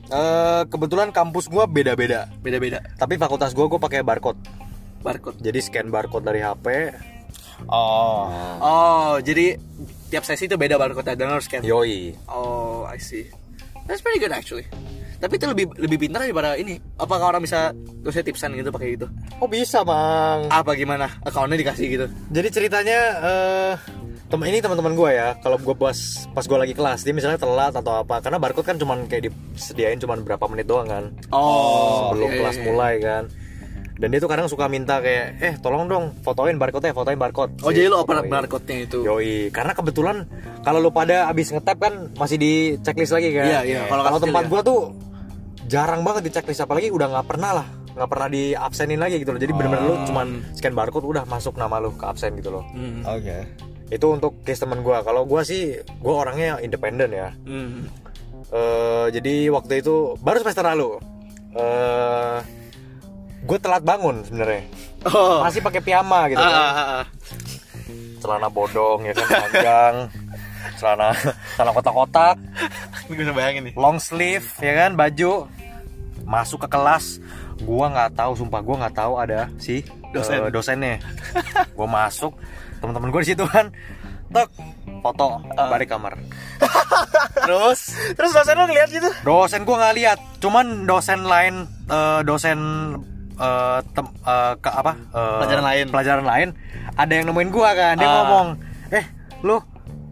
Speaker 3: Eh, kebetulan kampus gua beda-beda
Speaker 1: Beda-beda
Speaker 3: tapi fakultas gua gua pakai barcode
Speaker 1: barcode.
Speaker 3: jadi scan barcode dari HP Nah.
Speaker 2: oh
Speaker 1: Oh, jadi tiap sesi itu beda barcode dan harus scan.
Speaker 3: yoi
Speaker 1: Oh, I see. That's pretty good actually. Tapi itu lebih lebih pintar daripada ini. Apakah orang bisa terusnya tipsan gitu pakai gitu?
Speaker 3: oh bisa mang
Speaker 1: Apa gimana? Accountnya dikasih gitu.
Speaker 3: jadi ceritanya eh tem ini teman-teman gua ya kalau gua pas pas gua lagi kelas dia misalnya telat atau apa karena barcode kan cuman kayak disediain cuman berapa menit doang kan
Speaker 1: Oh,
Speaker 3: sebelum
Speaker 1: iya,
Speaker 3: kelas
Speaker 1: iya, iya.
Speaker 3: mulai kan dan dia tuh kadang suka minta kayak eh tolong dong fotoin barcode ya fotoin barcode
Speaker 1: Oh, jadi lo oper
Speaker 3: Fotoin.
Speaker 1: barcode-nya itu.
Speaker 3: yoi karena kebetulan kalau lu pada abis ngetap kan masih di checklist lagi kan
Speaker 1: Iya, iya. Kalau
Speaker 3: kalau
Speaker 1: kastil
Speaker 3: tempat
Speaker 1: ya.
Speaker 3: gua tuh jarang banget di checklist apalagi udah nggak pernah lah nggak pernah di
Speaker 1: Hmm.
Speaker 3: absenin lagi gitu loh jadi bener-bener lu cuman scan barcode udah masuk nama lu ke absen gitu loh
Speaker 1: Hmm.
Speaker 2: oke
Speaker 3: itu untuk case teman gue kalau gue sih gue orangnya independen ya
Speaker 1: Hmm.
Speaker 3: Eh, jadi waktu itu baru semester lalu eh gue telat bangun sebenarnya
Speaker 1: Oh.
Speaker 3: masih pakai piyama gitu
Speaker 1: Ah,
Speaker 3: kan.
Speaker 1: ah, ah, ah.
Speaker 3: celana bodong ya kan panjang celana celana kotak-kotak
Speaker 1: Ini gue udah bayangin nih.
Speaker 3: long sleeve ya kan baju masuk ke kelas gua nggak tahu sumpah gua nggak tahu ada si
Speaker 1: Dosen.
Speaker 3: eh, dosennya gua masuk teman-teman gua di situ kan tek foto
Speaker 1: Ah.
Speaker 3: balik kamar
Speaker 1: Terus, terus dosen lu ngeliat gitu?
Speaker 3: dosen gua nggak lihat cuman dosen lain eh, dosen eh, tem- eh, ke apa eh,
Speaker 1: Pelajaran lain.
Speaker 3: pelajaran lain ada yang nemuin gua kan dia
Speaker 1: Ah.
Speaker 3: ngomong eh lu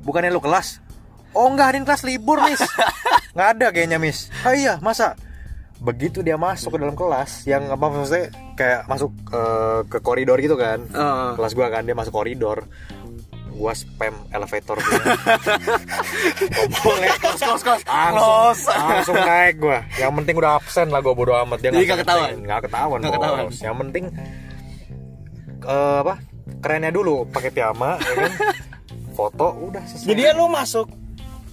Speaker 3: bukannya lu kelas oh enggak hari ini kelas libur miss nggak ada kayaknya miss ah iya masa begitu dia masuk ke dalam kelas yang apa maksudnya kayak masuk eh, ke koridor gitu kan
Speaker 1: Ah.
Speaker 3: kelas gua kan dia masuk koridor gua spam elevator ngomongnya
Speaker 1: Eh, Kos, kos, kos.
Speaker 3: langsung,
Speaker 1: Los.
Speaker 3: langsung naik gua yang penting udah absen lah gua bodo amat dia
Speaker 1: Jadi
Speaker 3: nggak
Speaker 1: nggak ketahuan?
Speaker 3: absen. nggak ketahuan
Speaker 1: Nggak
Speaker 3: bos.
Speaker 1: ketahuan.
Speaker 3: yang penting eh, apa kerennya dulu pakai piyama ya kan foto udah selesai
Speaker 2: Jadi ya lu masuk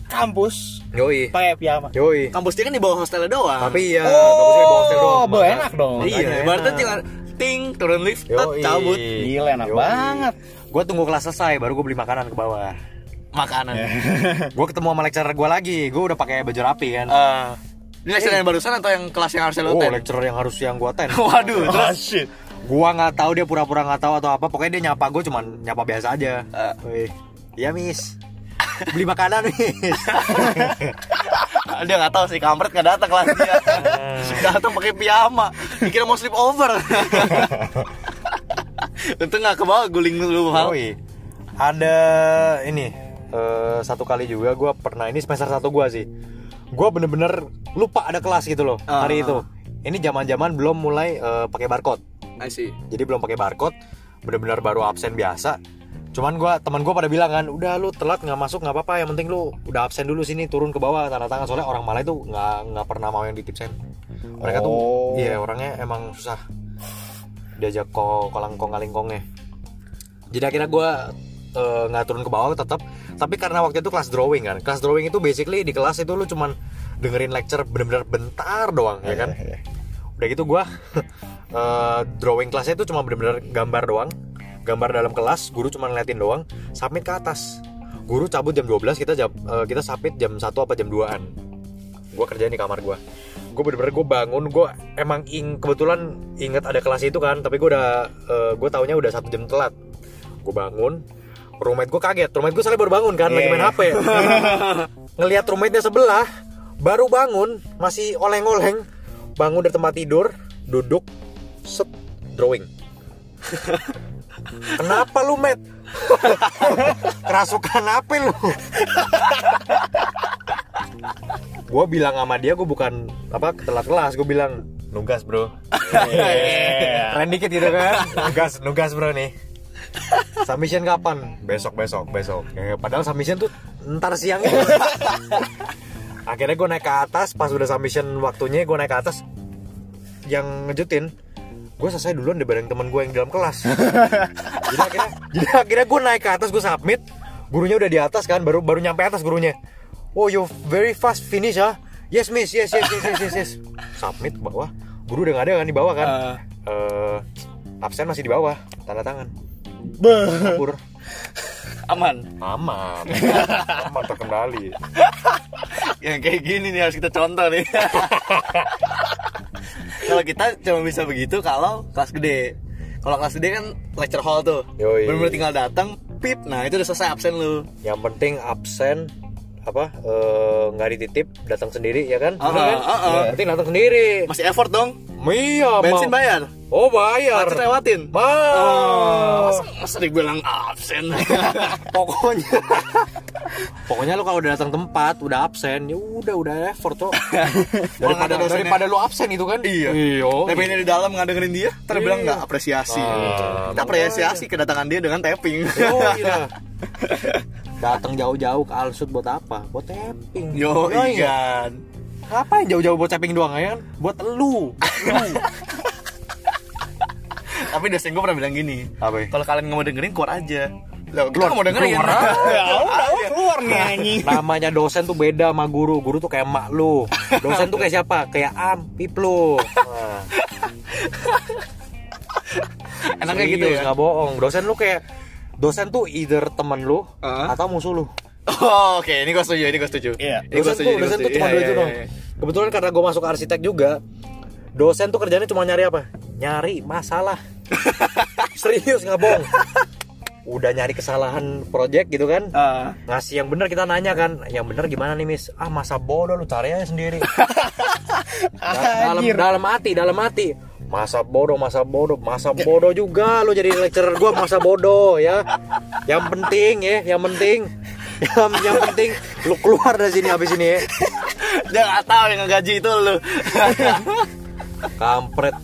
Speaker 2: kampus
Speaker 3: yoi
Speaker 2: pakai piyama.
Speaker 3: yoi
Speaker 1: Kampus dia kan di bawah hostelnya doang.
Speaker 3: tapi iya bagusnya di bawah
Speaker 2: Oh,
Speaker 3: hotel doang,
Speaker 2: boh,
Speaker 3: makanya-
Speaker 2: enak dong.
Speaker 3: makanya
Speaker 1: iya,
Speaker 3: enak.
Speaker 1: ibaratnya tinggal ting turun lift, tet,
Speaker 3: Yoi.
Speaker 1: cabut
Speaker 2: Gila, enak
Speaker 3: Yoi.
Speaker 2: banget.
Speaker 3: gua tunggu kelas selesai baru gua beli makanan ke bawah
Speaker 1: makanan.
Speaker 3: Eh. gua ketemu sama lecturer gua lagi gua udah pakai baju rapi kan
Speaker 1: Eh, ini lecture yang barusan atau yang kelas yang harus lo
Speaker 3: oh
Speaker 1: attend?
Speaker 3: lecturer yang harus yang gua ten
Speaker 1: Waduh, terus
Speaker 2: Oh, shit.
Speaker 3: gua nggak tahu dia pura-pura nggak tahu atau apa pokoknya dia nyapa gue cuman nyapa biasa aja
Speaker 1: Ah.
Speaker 3: Woi, iya miss beli makanan miss
Speaker 1: dia nggak tahu sih kampret nggak datang kelas dia. datang pakai piyama, dikira mau sleep over. Untung nggak ke bawah guling dulu hal.
Speaker 3: Woi, ada ini eh, satu kali juga gua pernah ini semester satu gua sih gua bener-bener lupa ada kelas gitu loh
Speaker 1: Ah.
Speaker 3: hari itu ini zaman-zaman belum mulai eh, pakai barcode
Speaker 1: I see.
Speaker 3: jadi belum pakai barcode bener-bener baru absen biasa cuman gua teman gua pada bilang kan udah lu telat nggak masuk nggak apa-apa yang penting lu udah absen dulu sini turun ke bawah tanda tangan soalnya orang Malay tuh nggak nggak pernah mau yang ditipsen mereka tuh
Speaker 2: Oh.
Speaker 3: iya orangnya emang susah diajak ko kolang kong kalingkongnya jadi akhirnya gua eh, nggak turun ke bawah tetap tapi karena waktu itu kelas drawing kan kelas drawing itu basically di kelas itu lu cuman dengerin lecture bener-bener bentar doang ya kan udah gitu gua eh, drawing kelasnya itu cuma bener-bener gambar doang gambar dalam kelas guru cuma ngeliatin doang submit ke atas guru cabut jam 12 kita jam, eh, kita submit jam 1 apa jam 2an gua kerjain di kamar gua gue bener-bener gue bangun gue emang ing kebetulan inget ada kelas itu kan tapi gue udah gue taunya udah satu jam telat gue bangun roommate gue kaget roommate gue soalnya baru bangun kan lagi main
Speaker 2: Iya.
Speaker 3: hp ngelihat roommate-nya sebelah baru bangun masih oleng-oleng bangun dari tempat tidur duduk set drawing kenapa lu met kerasukan apa lu gue bilang sama dia gue bukan apa telat kelas gue bilang nugas bro keren dikit gitu kan nugas nugas bro nih submission kapan besok besok besok Eh, padahal submission tuh ntar siangnya akhirnya gue naik ke atas pas udah submission waktunya gue naik ke atas yang ngejutin gue selesai duluan dibanding teman gue yang di dalam kelas jadi akhirnya jadi akhirnya gue naik ke atas gue submit gurunya udah di atas kan baru baru nyampe atas gurunya oh you very fast finish ah yes miss yes yes yes yes yes, yes. submit ke bawah guru udah gak ada kan di bawah kan
Speaker 1: Ah.
Speaker 3: Eh, absen masih di bawah tanda tangan kabur
Speaker 1: Aman.
Speaker 3: aman aman terkendali
Speaker 1: Yang Ya, kayak gini nih harus kita contoh nih. kalau kita cuma bisa begitu kalau kelas gede. Kalau kelas gede kan lecture hall tuh.
Speaker 3: Yoi.
Speaker 1: Bener-bener tinggal datang, pip. Nah, itu udah selesai absen lu.
Speaker 3: yang penting absen apa eh, nggak dititip datang sendiri ya kan
Speaker 1: Ah,
Speaker 3: Bener kan?
Speaker 1: ah, ah.
Speaker 3: penting datang sendiri
Speaker 1: Masih effort dong.
Speaker 3: iya
Speaker 1: Bensin
Speaker 3: mau-
Speaker 1: bayar.
Speaker 3: oh bayar
Speaker 1: Macet lewatin. Ah.
Speaker 3: Mau.
Speaker 1: Masa, masa dibilang absen.
Speaker 3: pokoknya pokoknya lu kalau udah datang tempat udah absen ya udah udah effort cok
Speaker 1: Orang ada
Speaker 3: daripada
Speaker 1: dosennya.
Speaker 3: daripada lu absen itu kan
Speaker 1: Iya.
Speaker 3: Iyo.
Speaker 1: Tapi ini di dalam nggak dengerin dia, terus
Speaker 3: Iya.
Speaker 1: bilang nggak apresiasi.
Speaker 3: Ah,
Speaker 1: Kita apresiasi kedatangan dia dengan tapping.
Speaker 3: Yo, iya. datang jauh-jauh ke Alsut buat apa buat tapping
Speaker 1: Yo,
Speaker 3: Yoi.
Speaker 1: iya.
Speaker 3: ngapain jauh-jauh buat tapping doang ya kan buat lu
Speaker 1: Tapi dosen gue pernah bilang gini,
Speaker 3: Apa?
Speaker 1: kalau kalian nggak mau dengerin keluar aja. Loh, kita nggak mau dengerin.
Speaker 2: ya udah lu keluar nih anjing
Speaker 3: namanya dosen tuh beda sama guru guru tuh kayak mak lu dosen tuh kayak siapa kayak am pip lu Nah,
Speaker 1: Enak kayak gitu
Speaker 3: serius,
Speaker 1: ya.
Speaker 3: nggak bohong dosen lu kayak dosen tuh either temen lu
Speaker 1: Heeh.
Speaker 3: atau musuh lu
Speaker 1: Oh, oke, ini gue setuju, ini gue setuju.
Speaker 2: Iya.
Speaker 1: Ini gue setuju.
Speaker 3: dosen tuh
Speaker 1: ini gua
Speaker 3: dosen tuh
Speaker 1: setuju.
Speaker 3: cuma
Speaker 1: Iya,
Speaker 3: dua
Speaker 1: iya,
Speaker 3: itu dong
Speaker 1: iya, iya.
Speaker 3: kebetulan karena gue masuk arsitek juga dosen tuh kerjanya cuma nyari apa nyari masalah serius nggak bohong udah nyari kesalahan project gitu kan
Speaker 1: Ah.
Speaker 3: ngasih yang benar kita nanya kan yang benar gimana nih miss ah masa bodoh lu cari aja sendiri dalam
Speaker 2: Anjir.
Speaker 3: dalam hati dalam hati masa bodoh masa bodoh masa bodoh juga lu jadi lecturer gua masa bodoh ya yang penting ya yang penting yang, yang penting lu keluar dari sini habis ini ya
Speaker 1: Dia nggak tahu yang ngegaji itu lu.
Speaker 3: kampret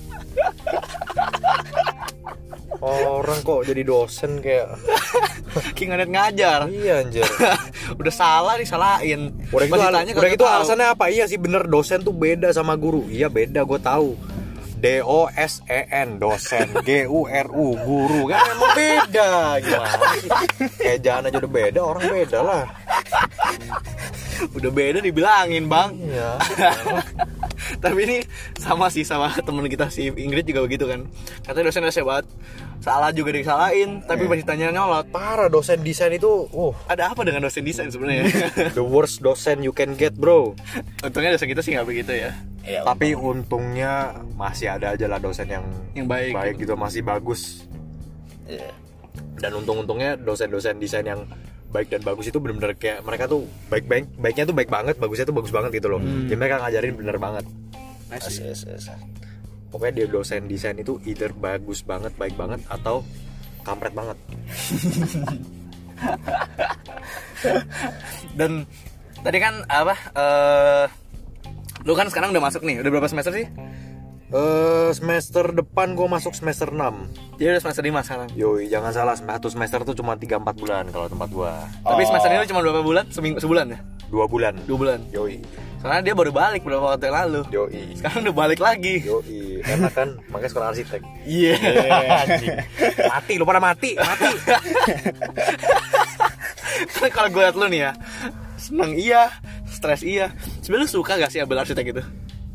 Speaker 3: orang kok jadi dosen kayak
Speaker 1: Kinganet ngajar.
Speaker 3: iya anjir
Speaker 1: udah salah disalahin.
Speaker 3: Udah gitu,
Speaker 1: Pas
Speaker 3: al-
Speaker 1: ditanya
Speaker 3: udah
Speaker 1: kagak
Speaker 3: gitu
Speaker 1: tahu.
Speaker 3: alasannya apa? Iya sih bener dosen tuh beda sama guru. Iya beda gue tahu. D O S E N dosen G U R U guru kan emang beda gimana sih? Ejaan aja udah beda orang beda lah.
Speaker 1: Udah beda dibilangin, Bang.
Speaker 3: Iya.
Speaker 1: Tapi ini sama sih sama temen kita si Ingrid juga begitu kan. Katanya dosen rese banget. Salah juga disalahin, tapi pas ditanya nyolot.
Speaker 3: Para dosen desain itu, uh,
Speaker 1: Ada apa dengan dosen desain sebenarnya?
Speaker 3: the worst dosen you can get bro.
Speaker 1: Untungnya dosen kita sih nggak begitu ya.
Speaker 2: Ya,
Speaker 3: Tapi untungnya masih ada aja lah dosen yang
Speaker 1: Yang baik
Speaker 3: baik gitu masih bagus.
Speaker 2: iya.
Speaker 3: dan untung-untungnya dosen-dosen desain yang baik dan bagus itu bener-bener kayak mereka tuh baik baik baiknya tuh baik banget bagusnya tuh bagus banget gitu loh jadi mereka ngajarin bener banget
Speaker 1: Nice.
Speaker 2: Yes, yes, yes.
Speaker 3: pokoknya dia dosen desain itu either bagus banget baik banget atau kampret banget
Speaker 1: Dan tadi kan apa? eh lu kan sekarang udah masuk nih. Udah berapa semester sih?
Speaker 3: eh semester depan gue masuk semester 6
Speaker 1: Jadi udah semester lima sekarang.
Speaker 3: Yoi, jangan salah, satu semester tuh cuma 3-4 bulan kalau tempat gua
Speaker 1: Tapi
Speaker 2: Oh.
Speaker 1: semester ini lu cuma berapa bulan? Seminggu, sebulan ya?
Speaker 3: 2 bulan
Speaker 1: Dua bulan.
Speaker 3: Yoi,
Speaker 1: Karena dia baru balik beberapa waktu yang lalu.
Speaker 3: yoi,
Speaker 1: Sekarang udah balik lagi.
Speaker 3: yoi Enak kan, makanya sekolah arsitek
Speaker 1: Iya.
Speaker 3: Anjing. Mati, lu pada mati, mati
Speaker 1: Karena kalau gue liat lu nih ya, seneng iya, stres iya. Sebenarnya lu suka gak sih ambil arsitek gitu?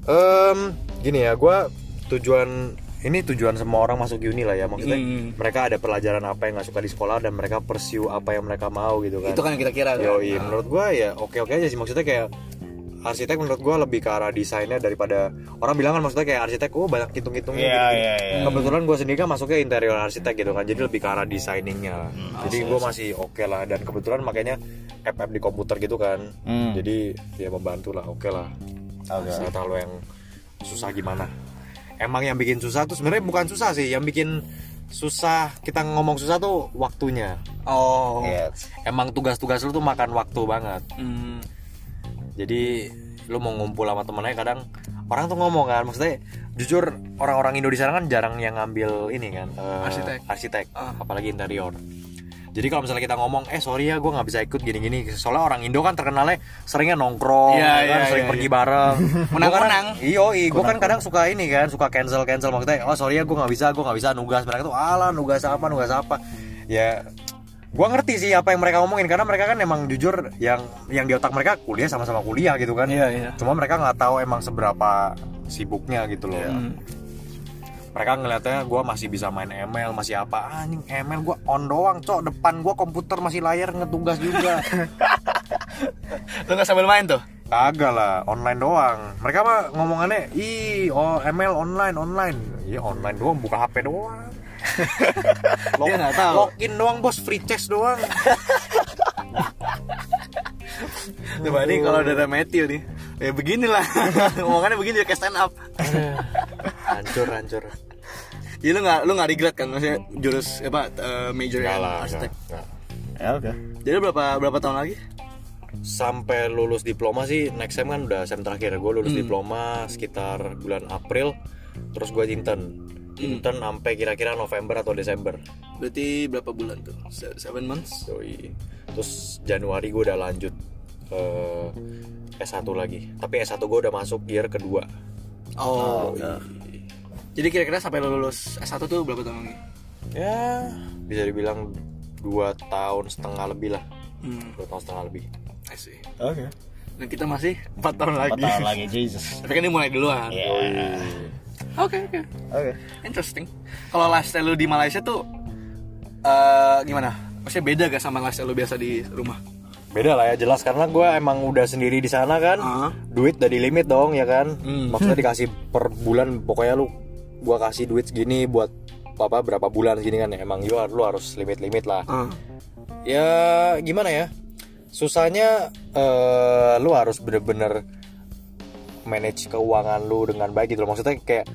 Speaker 3: Em, gini ya, gua tujuan ini tujuan semua orang masuk uni lah ya maksudnya.
Speaker 1: Hmm.
Speaker 3: Mereka ada pelajaran apa yang nggak suka di sekolah dan mereka pursue apa yang mereka mau gitu kan.
Speaker 1: Itu kan yang kita kira. Kan?
Speaker 3: Yoi, menurut gua ya oke oke aja sih maksudnya kayak arsitek menurut gua lebih ke arah desainnya daripada orang bilang kan maksudnya kayak arsitek oh banyak hitung hitungnya
Speaker 2: Iya, iya, iya.
Speaker 3: kebetulan gua sendiri kan masuknya interior arsitek gitu kan jadi lebih ke arah desainingnya
Speaker 2: Hmm.
Speaker 3: jadi gua masih oke lah dan kebetulan makanya app app di komputer gitu kan
Speaker 2: Hmm.
Speaker 3: jadi ya membantu lah oke lah
Speaker 2: Oke.
Speaker 3: nggak tahu lo yang susah gimana emang yang bikin susah tuh sebenarnya bukan susah sih yang bikin susah kita ngomong susah tuh waktunya
Speaker 1: Oh.
Speaker 2: Yes.
Speaker 3: emang tugas-tugas lu tuh makan waktu banget
Speaker 1: Hmm.
Speaker 3: jadi lu mau ngumpul sama temennya kadang orang tuh ngomong kan maksudnya jujur orang-orang Indo di sana kan jarang yang ngambil ini kan eh,
Speaker 1: Arsitek.
Speaker 3: arsitek
Speaker 1: Ah.
Speaker 3: apalagi interior jadi kalau misalnya kita ngomong eh sorry ya gue nggak bisa ikut gini-gini soalnya orang Indo kan terkenalnya seringnya nongkrong
Speaker 1: Iya,
Speaker 3: kan,
Speaker 1: iya,
Speaker 3: sering
Speaker 1: iya,
Speaker 3: pergi bareng
Speaker 1: Menang-menang.
Speaker 3: iyo gue kan kadang suka ini kan suka cancel cancel maksudnya oh sorry ya gue nggak bisa gue nggak bisa nugas mereka tuh ala nugas apa nugas apa ya gue ngerti sih apa yang mereka omongin karena mereka kan emang jujur yang yang di otak mereka kuliah sama-sama kuliah gitu kan
Speaker 1: Iya, iya.
Speaker 3: cuma mereka nggak tahu emang seberapa sibuknya gitu loh
Speaker 1: Hmm.
Speaker 3: mereka ngeliatnya gue masih bisa main ML masih apa "Ah, anjing ML gue on doang cok depan gue komputer masih layar ngetugas juga
Speaker 1: Lu gak sambil main tuh?
Speaker 3: Kagak lah, online doang. Mereka mah ngomongannya, ih, oh, ML online, online. Iya, online doang, buka HP doang.
Speaker 1: Dia nggak tahu.
Speaker 3: Login doang, bos, free chest doang.
Speaker 1: Tuh ini kalau udah ada Matthew nih. Ya beginilah. Omongannya begini kayak stand up.
Speaker 3: hancur, hancur.
Speaker 1: Jadi lu gak, lu gak regret kan? Maksudnya jurus, apa, eh,
Speaker 3: Iya,
Speaker 1: major yang arsitek.
Speaker 2: Ya, oke.
Speaker 1: Jadi berapa berapa tahun lagi?
Speaker 3: Sampai lulus diploma sih, next sem kan udah sem terakhir. Gue lulus diploma sekitar bulan April, terus gue intern. Intern sampai kira-kira November atau Desember.
Speaker 1: Berarti berapa bulan tuh? Se- Seven months?
Speaker 3: Yoi. Terus Januari gue udah lanjut ke S1 lagi. Tapi S1 gue udah masuk year kedua.
Speaker 1: Oh. iya. Jadi kira-kira sampai lu lulus S1 tuh berapa tahun lagi?
Speaker 3: Ya, bisa dibilang 2 dua tahun setengah lebih lah
Speaker 1: Hmm,
Speaker 3: dua tahun setengah lebih
Speaker 1: I see.
Speaker 2: Oke.
Speaker 1: Dan kita masih 4 tahun lagi.
Speaker 2: Empat tahun lagi Jesus.
Speaker 1: Tapi kan ini mulai duluan. Oke,
Speaker 2: Ya.
Speaker 1: oke.
Speaker 2: Oke.
Speaker 1: Interesting. Kalau lifestyle lu di Malaysia tuh eh gimana? Maksudnya beda gak sama lifestyle lu biasa di rumah?
Speaker 3: beda lah ya jelas karena gue emang udah sendiri di sana kan
Speaker 1: Ah.
Speaker 3: duit dari limit dong ya kan
Speaker 1: Hmm.
Speaker 3: maksudnya dikasih per bulan pokoknya lu gue kasih duit segini buat apa berapa bulan segini kan emang you har- lu harus limit limit lah
Speaker 1: Ah.
Speaker 3: ya gimana ya susahnya eh, lu harus bener-bener manage keuangan lu dengan baik gitu loh maksudnya kayak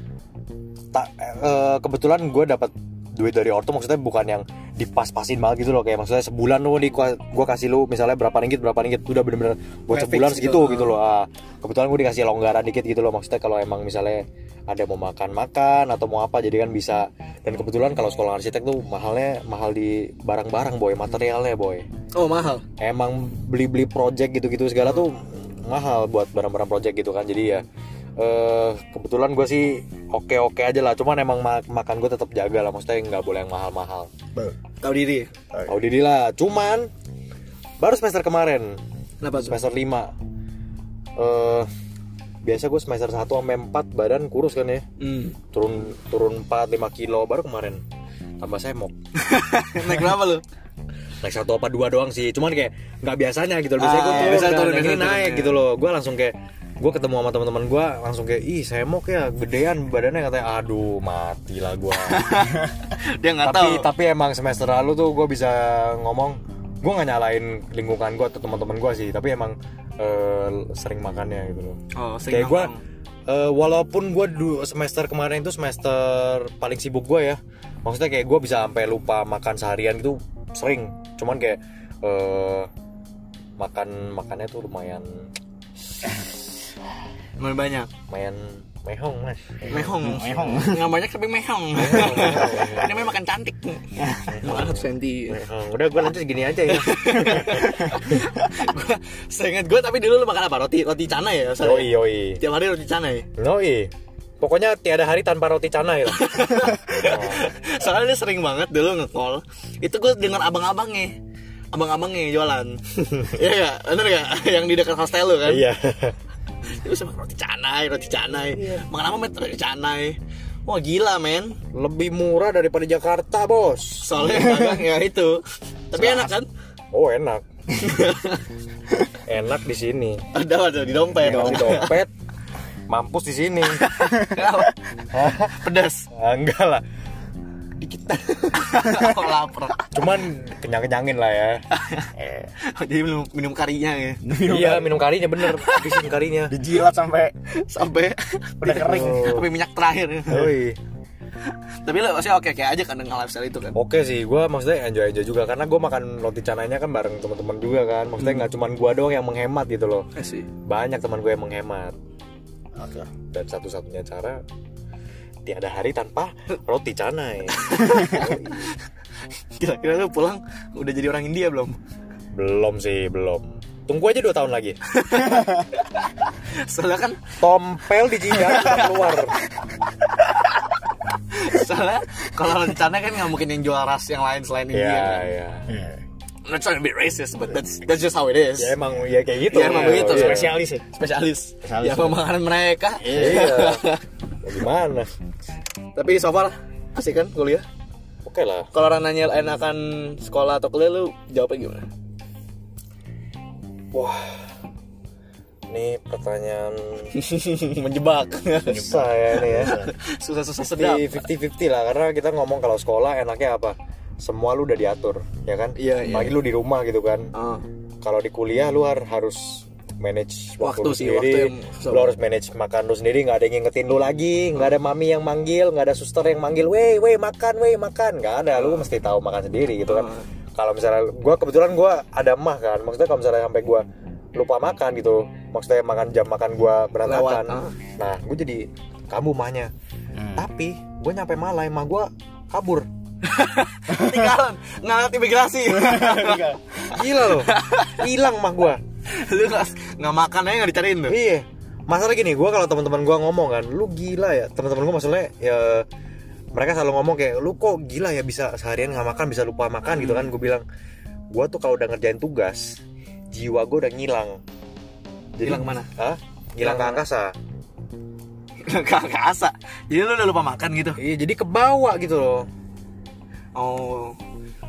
Speaker 3: tak eh, kebetulan gue dapat duit dari orto maksudnya bukan yang dipas-pasin banget gitu loh kayak maksudnya sebulan lu di gue kasih lu misalnya berapa ringgit berapa ringgit udah bener-bener buat
Speaker 1: Udah
Speaker 3: sebulan
Speaker 1: fix
Speaker 3: segitu
Speaker 1: gitu,
Speaker 3: gitu loh Ah, kebetulan gue dikasih longgaran dikit gitu loh maksudnya kalau emang misalnya ada mau makan makan atau mau apa jadi kan bisa dan kebetulan kalau sekolah arsitek tuh mahalnya mahal di barang-barang boy materialnya boy
Speaker 1: Oh, mahal.
Speaker 3: emang beli-beli project gitu-gitu segala tuh mahal buat barang-barang project gitu kan jadi ya eh kebetulan gue sih oke-oke aja lah cuman emang ma- makan gue tetap jaga lah maksudnya nggak boleh yang mahal-mahal
Speaker 1: Tahu diri.
Speaker 3: tahu diri lah cuman baru semester kemarin
Speaker 1: Kenapa tuh?
Speaker 3: semester 5 eh biasa gue semester 1 sampai 4 badan kurus kan ya
Speaker 1: Hmm.
Speaker 3: turun turun 4 5 kilo baru kemarin tambah semok
Speaker 1: Naik berapa lu?
Speaker 3: naik satu apa dua doang sih cuman kayak nggak biasanya gitu loh
Speaker 1: Ah,
Speaker 3: biasanya gue
Speaker 1: iya,
Speaker 3: turun,
Speaker 1: biasanya
Speaker 3: kan.
Speaker 1: turun,
Speaker 3: Yang ini
Speaker 1: biasanya
Speaker 3: naik
Speaker 1: turun,
Speaker 3: gitu loh gue langsung kayak gue ketemu sama teman-teman gue langsung kayak ih semok ya gedean badannya katanya aduh mati lah gue
Speaker 1: Dia nggak
Speaker 3: tapi
Speaker 1: tahu.
Speaker 3: tapi emang semester lalu tuh gue bisa ngomong gue nggak nyalain lingkungan gue atau teman-teman gue sih tapi emang eh, sering makannya gitu loh
Speaker 1: Oh, sering
Speaker 3: kayak gue
Speaker 1: nongkrong.
Speaker 3: eh, walaupun gue semester kemarin itu semester paling sibuk gue ya maksudnya kayak gue bisa sampai lupa makan seharian gitu sering cuman kayak eh, makan makannya tuh lumayan
Speaker 1: Lumayan banyak.
Speaker 3: lumayan mehong mas
Speaker 1: Mehong.
Speaker 2: Mehong.
Speaker 1: Nggak banyak tapi mehong. Ini memang makan cantik. Makan satu senti.
Speaker 3: mehong udah gue lanjut gini aja ya
Speaker 1: Gua- Seingat gue tapi dulu lu makan apa? Roti roti canai ya? Sar?
Speaker 3: yoi yoi
Speaker 1: Tiap hari roti canai.
Speaker 3: yoi pokoknya tiada hari tanpa roti canai lah
Speaker 1: Soalnya dia sering banget dulu nge-call Itu gue denger abang-abangnya Abang-abangnya jualan Iya gak? Bener gak? Yang di dekat hostel lu kan?
Speaker 3: iya
Speaker 1: Itu sama roti canai, roti canai Makan apa met? Roti canai Wah gila men
Speaker 3: lebih murah daripada Jakarta bos
Speaker 1: Soalnya yang dagang ya itu Tapi enak kan?
Speaker 3: oh enak enak di sini
Speaker 1: Ada ada di dompet
Speaker 3: Kasih dompet mampus di sini
Speaker 1: Kenapa? Pedas
Speaker 3: Ah, enggak lah
Speaker 1: Oh lapar
Speaker 3: cuman kenyang kenyangin lah ya
Speaker 1: Jadi minum, minum karinya ya
Speaker 3: iya minum karinya bener habisin karinya
Speaker 2: Dijilat sampai
Speaker 1: Sampai
Speaker 2: udah kering.
Speaker 1: Sampai minyak terakhir
Speaker 3: Oi.
Speaker 1: Tapi lu maksudnya oke-oke aja kan dengan lifestyle itu kan?
Speaker 3: Oke sih, gue maksudnya enjoy enjoy juga karena gue makan roti canainya kan bareng teman-teman juga kan. Maksudnya nggak cuman gue doang yang menghemat gitu loh.
Speaker 1: Eh sih
Speaker 3: Banyak teman gue yang menghemat
Speaker 2: Oke.
Speaker 3: dan satu-satunya cara tiada hari tanpa roti canai.
Speaker 1: Kira-kira lu pulang udah jadi orang India belum?
Speaker 3: belum sih, belum. Tunggu aja dua tahun lagi.
Speaker 1: Soalnya kan
Speaker 3: Tompel di jidat keluar.
Speaker 1: Soalnya kalau rencana kan nggak mungkin yang jual ras yang lain selain India.
Speaker 3: Iya,
Speaker 1: kan?
Speaker 3: iya.
Speaker 2: Iya.
Speaker 1: I'm not trying to be racist, but that's that's just how it is.
Speaker 3: Ya emang ya kayak gitu.
Speaker 1: Ya, emang begitu.
Speaker 3: Iya.
Speaker 2: Spesialis ya.
Speaker 1: Spesialis.
Speaker 2: Spesialis,
Speaker 1: ya pemahaman mereka.
Speaker 3: Iya. Ya, gimana?
Speaker 1: Tapi so far asik kan kuliah?
Speaker 3: Oke lah.
Speaker 1: Kalau orang nanya enakan sekolah atau kuliah lu jawabnya gimana?
Speaker 3: Wah. Ini pertanyaan
Speaker 1: Menjebak.
Speaker 3: saya nih ya.
Speaker 1: Susah-susah sedap.
Speaker 3: Di 50-50 lah karena kita ngomong kalau sekolah enaknya apa? Semua lu udah diatur, ya kan?
Speaker 1: Iya, iya.
Speaker 3: Apalagi lu di rumah gitu kan.
Speaker 1: Ah.
Speaker 3: Kalau di kuliah lu har- harus manage waktu,
Speaker 1: Waktu
Speaker 3: lu
Speaker 1: sih,
Speaker 3: sendiri.
Speaker 1: waktu yang-
Speaker 3: Lu harus manage makan lu sendiri, nggak ada yang ngingetin lu lagi, nggak ada mami yang manggil, nggak ada suster yang manggil, "Weh, weh, makan, weh, makan." nggak
Speaker 1: Ah.
Speaker 3: ada, lu mesti tahu makan sendiri gitu kan. Kalau misalnya gua kebetulan gua ada mah kan. Maksudnya kalau misalnya sampai gua lupa makan gitu, maksudnya makan jam makan gua berantakan.
Speaker 1: Lewat, ah. Hmm.
Speaker 3: Nah, gue jadi kamu mahnya. Tapi gue nyampe malah emang gue kabur.
Speaker 1: Tinggalan, ngalat imigrasi.
Speaker 3: Gila loh. Hilang mah gue.
Speaker 1: lu nggak nggak makan aja nggak dicariin tuh.
Speaker 3: Iya. Masalah gini, gue kalau teman-teman gue ngomong kan, lu gila ya. Teman-teman gue maksudnya ya mereka selalu ngomong kayak lu kok gila ya bisa seharian nggak makan bisa lupa makan gitu kan gue bilang gue tuh kalau udah ngerjain tugas jiwa gue udah ngilang
Speaker 1: Ngilang kemana?
Speaker 3: Hah? ngilang ke angkasa
Speaker 1: Kakak asa. Jadi lu udah lupa makan gitu.
Speaker 3: iya jadi kebawa gitu loh
Speaker 1: Oh.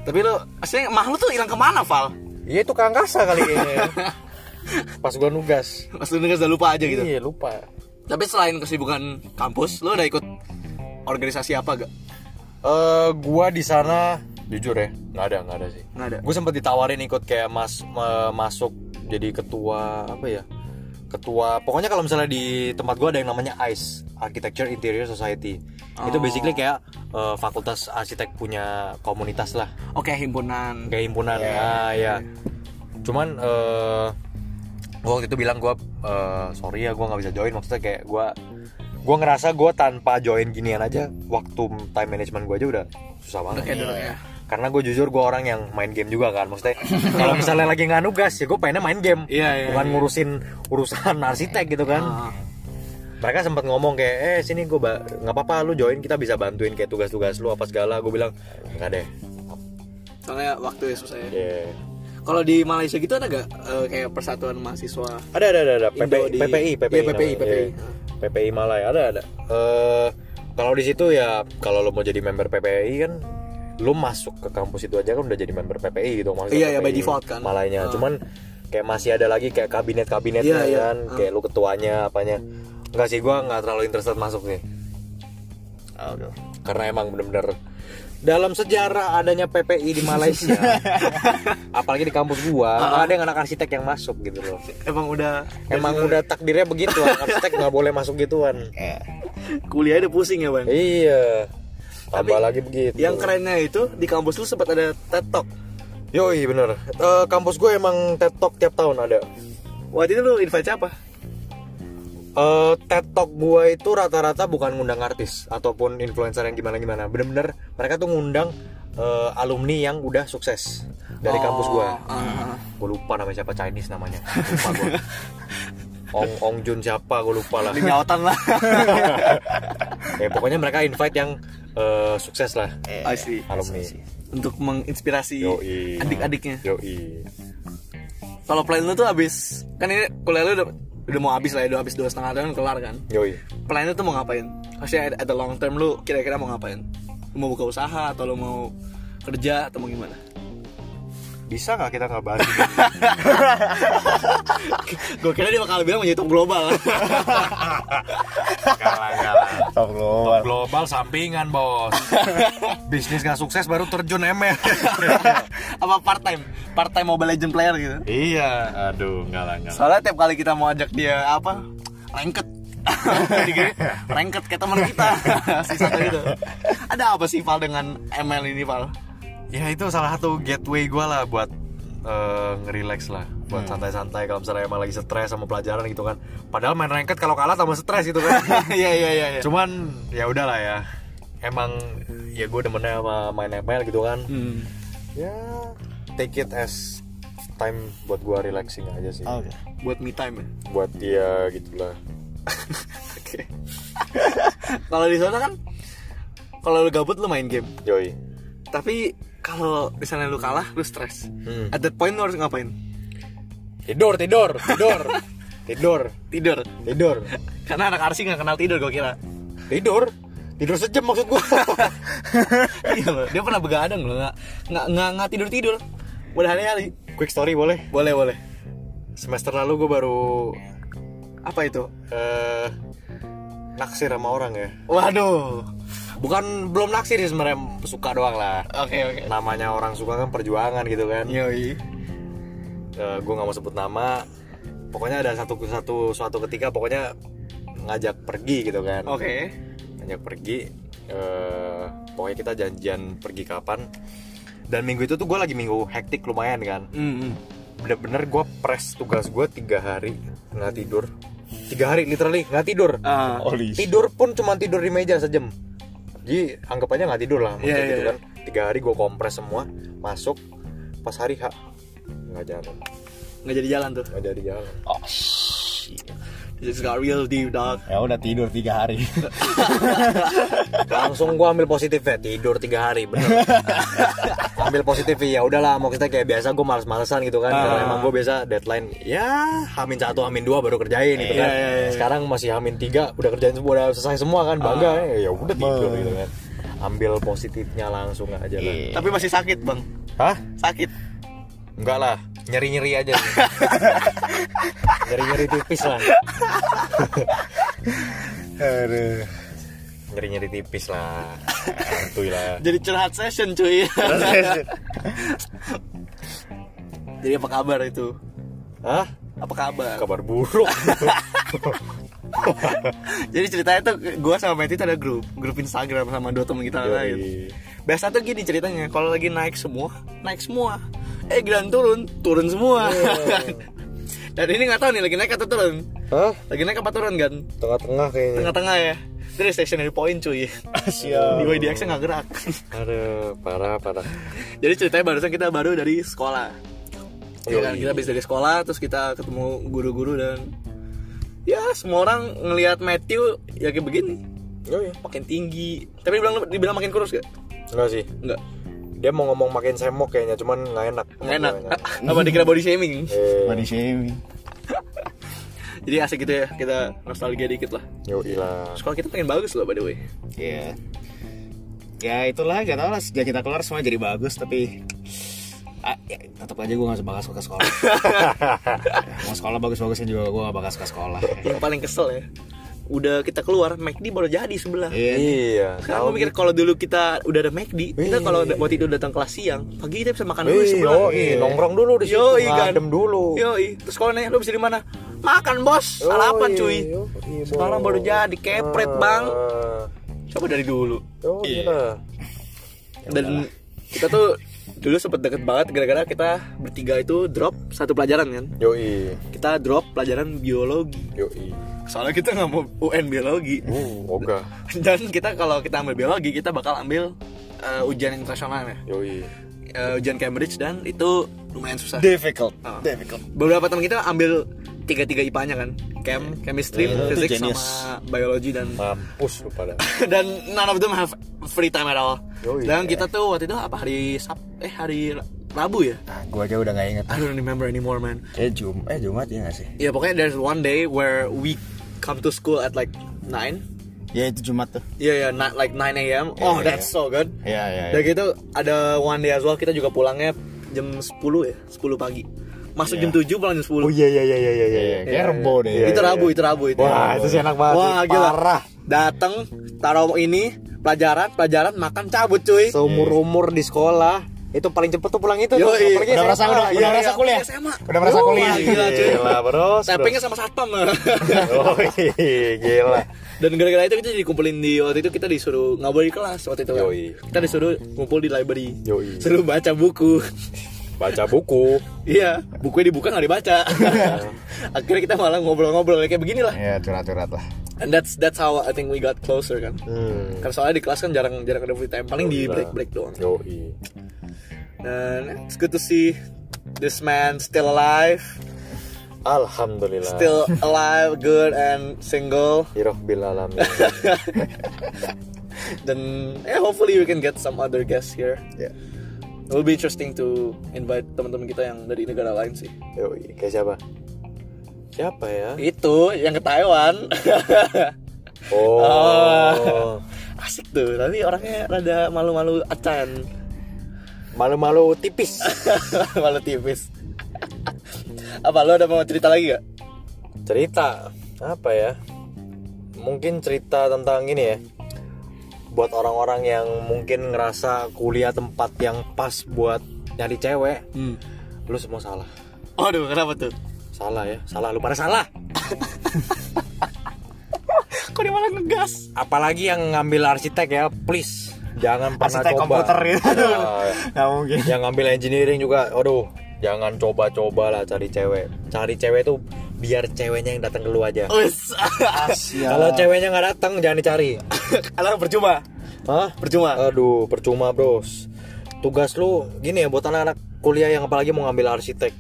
Speaker 1: Tapi lu aslinya mah lu tuh hilang kemana, Val?
Speaker 3: iya itu ke angkasa kali kayaknya ya. pas gue nugas
Speaker 1: Mas lu denger udah lupa aja gitu.
Speaker 3: iya lupa
Speaker 1: Tapi selain kesibukan kampus, lu udah ikut organisasi apa gak?
Speaker 3: Eh, gua di sana jujur ya, nggak ada, nggak ada sih.
Speaker 1: Nggak ada.
Speaker 3: Gua sempet ditawarin ikut kayak mas me- masuk jadi ketua apa ya? Ketua. Pokoknya kalau misalnya di tempat gua ada yang namanya ICE, Architecture Interior Society. Itu basically kayak eh, fakultas arsitek punya komunitas lah,
Speaker 1: Oke, himpunan.
Speaker 3: kayak himpunan.
Speaker 1: Iya,
Speaker 3: Ah, ya. Cuman eh gua waktu itu bilang gua eh, sorry ya gua nggak bisa join maksudnya kayak gua gua ngerasa gua tanpa join ginian aja waktu time management gua aja udah susah banget
Speaker 1: Udah kayak dulu ya.
Speaker 3: karena gue jujur gue orang yang main game juga kan maksudnya kalau misalnya lagi nggak nugas ya gue pengennya main game
Speaker 1: Iya, iya,
Speaker 3: bukan
Speaker 1: iya.
Speaker 3: ngurusin urusan arsitek gitu kan
Speaker 1: Ah.
Speaker 3: mereka sempat ngomong kayak eh sini gue ba- nggak apa-apa lu join kita bisa bantuin kayak tugas-tugas lu apa segala gue bilang nggak deh
Speaker 1: Soalnya waktu ya susah ya.
Speaker 3: Iya.
Speaker 1: Kalau di Malaysia gitu ada gak eh, kayak persatuan mahasiswa?
Speaker 3: ada ada ada, ada. PP
Speaker 1: Indo di-
Speaker 3: PPI PPI
Speaker 1: Iya, PPI,
Speaker 3: namanya.
Speaker 1: PPI.
Speaker 3: Iya. PPI Malaya ada ada Eh, kalau di situ ya kalau lo mau jadi member PPI kan lo masuk ke kampus itu aja kan udah jadi member PPI gitu maksudnya
Speaker 1: Iya, iya,
Speaker 3: PPI
Speaker 1: by default kan. Ah.
Speaker 3: Malayanya cuman kayak masih ada lagi kayak kabinet
Speaker 1: Iya,
Speaker 3: kabinetnya
Speaker 1: iya.
Speaker 3: kan
Speaker 1: Ah.
Speaker 3: kayak lo ketuanya apanya Enggak sih gua nggak terlalu interested masuk nih karena emang bener-bener dalam sejarah adanya PPI di Malaysia apalagi di kampus gua
Speaker 1: Ah.
Speaker 3: nggak ada yang anak arsitek yang masuk gitu loh
Speaker 1: Emang udah
Speaker 3: Emang udah takdirnya begitu, anak arsitek nggak boleh masuk gituan.
Speaker 2: Ya.
Speaker 1: kuliah udah pusing ya, Bang?
Speaker 3: Iya. Tambah
Speaker 1: Tapi,
Speaker 3: lagi begitu.
Speaker 1: Yang kerennya itu di kampus lu sempat ada TED Talk.
Speaker 3: Yoi bener. Eh, kampus gue emang TED Talk tiap tahun ada.
Speaker 1: Waktu itu lu invite siapa?
Speaker 3: Eh TED Talk gue itu rata-rata bukan ngundang artis ataupun influencer yang gimana-gimana. Bener-bener mereka tuh ngundang eh, alumni yang udah sukses dari kampus gue.
Speaker 1: Oh, ah.
Speaker 3: Gue lupa namanya siapa Chinese namanya. Lupa gue. Ong Ong Jun siapa gue lupa lah.
Speaker 1: nyautan lah.
Speaker 3: Ya, pokoknya mereka invite yang eh, sukses lah
Speaker 1: I see.
Speaker 3: alumni.
Speaker 1: Untuk menginspirasi
Speaker 3: Yoi.
Speaker 1: adik-adiknya.
Speaker 3: Yoi.
Speaker 1: Kalau plan lu tuh abis kan ini kuliah lu udah, udah mau abis lah ya, udah abis dua setengah tahun kelar kan.
Speaker 3: Yoi.
Speaker 1: Plan lu tuh mau ngapain? Maksudnya at, at the long term lu kira-kira mau ngapain? Lu mau buka usaha atau lu mau kerja atau mau gimana?
Speaker 3: Bisa nggak kita nggak bahas?
Speaker 1: Gue kira dia bakal bilang mau YouTube global.
Speaker 3: kalah kalah.
Speaker 2: Top global.
Speaker 3: Global sampingan bos. Bisnis nggak sukses baru terjun ML.
Speaker 1: Apa part time? Part time Mobile Legend player gitu.
Speaker 2: Iya, aduh, enggak lah, enggak.
Speaker 1: Soalnya tiap kali kita mau ajak dia apa? Lengket. Jadi, Lengket kayak teman kita. si satu itu. Ada apa sih Val dengan ML ini Val?
Speaker 3: ya itu salah satu gateway gue lah buat eh, ngerelax lah buat santai-santai kalau misalnya emang lagi stres sama pelajaran gitu kan padahal main ranked kalau kalah tambah stres gitu kan
Speaker 1: Iya iya iya iya.
Speaker 3: cuman ya udahlah ya emang ya gue demennya sama main ML gitu kan
Speaker 1: Hmm.
Speaker 3: ya take it as time buat gue relaxing aja sih
Speaker 2: Oke.
Speaker 1: Buat me time ya.
Speaker 3: buat dia gitulah
Speaker 1: Oke. kalau di sana kan kalau lu gabut lu main game.
Speaker 3: Joy
Speaker 1: Tapi kalau di sana lu kalah lu stres.
Speaker 3: Hmm.
Speaker 1: At that point lu harus ngapain?
Speaker 3: tidur tidur tidur tidur
Speaker 1: Tidur.
Speaker 3: tidur
Speaker 1: Karena anak arsi nggak kenal tidur gue kira.
Speaker 3: tidur tidur sejam maksud gua
Speaker 1: Iya loh. Dia pernah begadang loh nggak nggak nggak nggak tidur tidur. Udah hari-hari.
Speaker 3: quick story boleh
Speaker 1: Boleh boleh.
Speaker 3: semester lalu gua baru
Speaker 1: Apa itu?
Speaker 3: eh naksir sama orang ya
Speaker 1: Waduh.
Speaker 3: bukan belum naksir sih sebenarnya suka doang lah
Speaker 1: Oke oke.
Speaker 3: namanya orang suka kan perjuangan gitu kan
Speaker 1: Yoi.
Speaker 3: Eh, gue nggak mau sebut nama pokoknya ada satu satu suatu ketika pokoknya ngajak pergi gitu kan
Speaker 1: Oke.
Speaker 3: ngajak pergi eh pokoknya kita janjian pergi kapan dan minggu itu tuh gue lagi minggu hektik lumayan kan
Speaker 1: Hmm.
Speaker 3: bener-bener gue press tugas gue tiga hari nggak tidur tiga hari literally nggak tidur
Speaker 1: Ah.
Speaker 2: Oli.
Speaker 3: tidur pun cuma tidur di meja sejam jadi anggap aja nggak tidur lah maksudnya
Speaker 1: Iya, iya,
Speaker 3: gitu
Speaker 1: iya.
Speaker 3: kan tiga hari gue kompres semua masuk pas hari H nggak jalan
Speaker 1: nggak jadi jalan tuh.
Speaker 3: nggak jadi jalan
Speaker 2: Oh, shit.
Speaker 1: It's got real deep dog.
Speaker 2: ya udah tidur tiga hari
Speaker 3: langsung gua ambil positifnya tidur tiga hari bener ambil positifnya ya udahlah mau kita kayak biasa gua males-malesan gitu kan Kalau emang gua biasa deadline ya hamin satu hamin dua baru kerjain gitu kan sekarang masih hamin tiga udah kerjain semua udah selesai semua kan bangga ya udah tidur gitu kan ambil positifnya langsung aja kan
Speaker 2: Iya.
Speaker 1: Tapi masih sakit bang.
Speaker 3: hah
Speaker 1: Sakit.
Speaker 3: enggak lah nyeri-nyeri aja sih. nyeri-nyeri tipis lah
Speaker 2: Aduh.
Speaker 3: nyeri-nyeri tipis lah santuy lah
Speaker 1: Jadi curhat session cuy. Jadi apa kabar itu?
Speaker 3: hah
Speaker 1: Apa kabar?
Speaker 3: kabar buruk
Speaker 1: Jadi ceritanya tuh gue sama Matty tuh ada grup grup Instagram sama dua temen kita
Speaker 3: Yoi.
Speaker 1: lain. Biasa tuh gini ceritanya, kalau lagi naik semua, naik semua. Eh giliran turun, turun semua. Dan ini nggak tahu nih lagi naik atau turun.
Speaker 3: hah
Speaker 1: Lagi naik apa turun kan?
Speaker 3: tengah-tengah kayaknya
Speaker 1: Tengah-tengah ya. Jadi stationary point cuy. Di
Speaker 2: Siap.
Speaker 1: YDX nggak gerak.
Speaker 3: Aduh, parah parah.
Speaker 1: Jadi ceritanya barusan kita baru dari sekolah. Iya
Speaker 3: Yoi.
Speaker 1: kan? Kita habis dari sekolah terus kita ketemu guru-guru dan ya semua orang ngelihat Matthew ya kayak begini
Speaker 3: Oh iya,
Speaker 1: makin tinggi tapi dibilang dibilang makin kurus gak
Speaker 3: enggak sih.
Speaker 1: Enggak.
Speaker 3: Dia mau ngomong makin semok kayaknya, cuman nggak enak.
Speaker 1: Nggak enak. Apa dikira body shaming?
Speaker 3: Eh,
Speaker 2: Body shaming.
Speaker 1: Jadi asik gitu ya, kita nostalgia dikit lah.
Speaker 3: Eh, yo ilah.
Speaker 1: Sekolah kita pengen bagus loh by the way.
Speaker 2: Iya. Ya itulah gak tau lah sejak kita keluar semua jadi bagus tapi ah, ya, tetap aja gue gak bakal suka sekolah. Ya, mau sekolah bagus-bagusnya juga gue gak bakal suka sekolah.
Speaker 1: Yang paling kesel ya, udah kita keluar, McD baru jadi sebelah.
Speaker 2: Iya.
Speaker 3: Iya.
Speaker 1: Sekarang gue mikir kalau dulu kita udah ada McD, kita kalau da- waktu itu datang kelas siang, pagi kita bisa makan dulu di
Speaker 3: Wih,
Speaker 1: sebelah.
Speaker 3: yo, nongkrong dulu di situ,
Speaker 1: Yoi, iya. kan.
Speaker 3: ngadem dulu.
Speaker 1: Yoi. terus kalau nanya lu bisa di mana? Makan bos, sarapan
Speaker 3: Yoi,
Speaker 1: cuy.
Speaker 3: yoi, bos.
Speaker 1: Sekarang baru jadi kepret
Speaker 3: iya, Ah,
Speaker 1: bang. Iya. Coba dari dulu.
Speaker 3: Yo iya. ilah.
Speaker 1: Dan kita tuh dulu sempet deket banget gara-gara kita bertiga itu drop satu pelajaran kan.
Speaker 3: Yo iya.
Speaker 1: kita drop pelajaran biologi Oh.
Speaker 3: yo iya.
Speaker 1: soalnya kita nggak mau UN biologi
Speaker 3: Uh, ogah.
Speaker 1: dan kita kalau kita ambil biologi kita bakal ambil eh, ujian internasional ya
Speaker 3: Yo iya.
Speaker 1: Eh, ujian Cambridge dan itu lumayan susah
Speaker 2: Difficult.
Speaker 1: Ah.
Speaker 2: Difficult.
Speaker 1: beberapa teman kita ambil tiga tiga IPA-nya kan chem chemistry
Speaker 2: Iya, Itu
Speaker 1: physics
Speaker 2: genius.
Speaker 1: sama biologi dan
Speaker 3: Mampus lu pada.
Speaker 1: dan none of them have free time at all
Speaker 3: Yoi.
Speaker 1: dan kita tuh waktu itu apa hari Sab eh hari Rabu ya
Speaker 2: Nah, gue aja udah gak inget.
Speaker 1: I don't remember anymore man
Speaker 2: Kayak Jum, eh Jumat ya gak sih?
Speaker 1: ya pokoknya there's one day where we come to school at like 9
Speaker 2: Ya itu Jumat tuh.
Speaker 1: Iya ya, not like 9 a.m. Oh,
Speaker 2: Iya,
Speaker 1: that's
Speaker 2: iya.
Speaker 1: so good.
Speaker 2: Iya iya.
Speaker 1: Dan gitu ada one day as well kita juga pulangnya jam 10 ya, 10 pagi. Masuk jam 7 pulang jam 10.
Speaker 3: Oh iya iya iya iya iya iya.
Speaker 2: Kayak rebo deh.
Speaker 1: itu Rabu, itu Rabu itu.
Speaker 3: Wah, itu sih enak banget
Speaker 1: Wah,
Speaker 3: sih.
Speaker 1: gila.
Speaker 3: Parah.
Speaker 1: Datang taruh ini pelajaran, pelajaran makan cabut cuy.
Speaker 3: Seumur umur di sekolah itu paling cepet tuh pulang itu. tuh.
Speaker 1: Yoi.
Speaker 3: Apalagi
Speaker 2: Udah merasa
Speaker 3: SMA.
Speaker 2: udah,
Speaker 1: iya,
Speaker 2: udah merasa
Speaker 1: iya.
Speaker 2: kuliah.
Speaker 1: SMA.
Speaker 2: Udah merasa
Speaker 1: Wah,
Speaker 2: kuliah.
Speaker 1: gila, cuy.
Speaker 3: Gila, bros.
Speaker 1: Tappingnya sama satpam.
Speaker 3: Yoi, gila.
Speaker 1: Dan gara-gara itu kita dikumpulin di waktu itu kita disuruh nggak boleh di kelas waktu itu. kan.
Speaker 3: Yoi.
Speaker 1: Kita disuruh ngumpul di library.
Speaker 3: Yoi.
Speaker 1: Suruh baca buku.
Speaker 3: Baca buku.
Speaker 1: Iya, bukunya dibuka nggak dibaca. Akhirnya kita malah ngobrol-ngobrol kayak beginilah.
Speaker 2: Ya curhat-curhat lah.
Speaker 1: And that's that's how I think we got closer kan. Karena soalnya di kelas kan jarang jarang ada free time, paling di
Speaker 3: Gila.
Speaker 1: break break doang.
Speaker 3: Yoi.
Speaker 1: Dan it's good to see this man still alive,
Speaker 3: Alhamdulillah.
Speaker 1: still alive, good and single.
Speaker 3: Irohbil alamin.
Speaker 1: Dan eh hopefully we can get some other guests here.
Speaker 2: Ya.
Speaker 1: It will be interesting to invite teman-teman kita yang dari negara lain sih.
Speaker 3: Yoi, kayak siapa? Siapa ya?
Speaker 1: Itu yang ke Taiwan.
Speaker 3: Oh.
Speaker 1: Oh. Asik tuh, tapi orangnya rada malu-malu acan.
Speaker 3: Malu-malu tipis.
Speaker 1: malu tipis. Apa lo ada mau cerita lagi gak?
Speaker 3: cerita apa ya? Mungkin cerita tentang ini ya. Buat orang-orang yang mungkin ngerasa kuliah tempat yang pas buat nyari cewek,
Speaker 1: Hmm.
Speaker 3: lu semua salah.
Speaker 1: Aduh, kenapa tuh?
Speaker 3: Salah ya, salah lu pada salah.
Speaker 1: Kok dia malah ngegas?
Speaker 3: Apalagi yang ngambil arsitek ya, please jangan pernah
Speaker 2: Arsitek
Speaker 3: coba.
Speaker 2: komputer gitu.
Speaker 3: Ya.
Speaker 2: Gak mungkin.
Speaker 3: yang ngambil engineering juga aduh jangan coba-coba lah cari cewek cari cewek tuh biar ceweknya yang datang ke lu aja
Speaker 1: Wes.
Speaker 3: kalau ceweknya nggak datang jangan dicari
Speaker 1: Alah percuma.
Speaker 3: Hah?
Speaker 1: Percuma.
Speaker 3: aduh percuma bros tugas lu gini ya buat anak-anak kuliah yang apalagi mau ngambil arsitek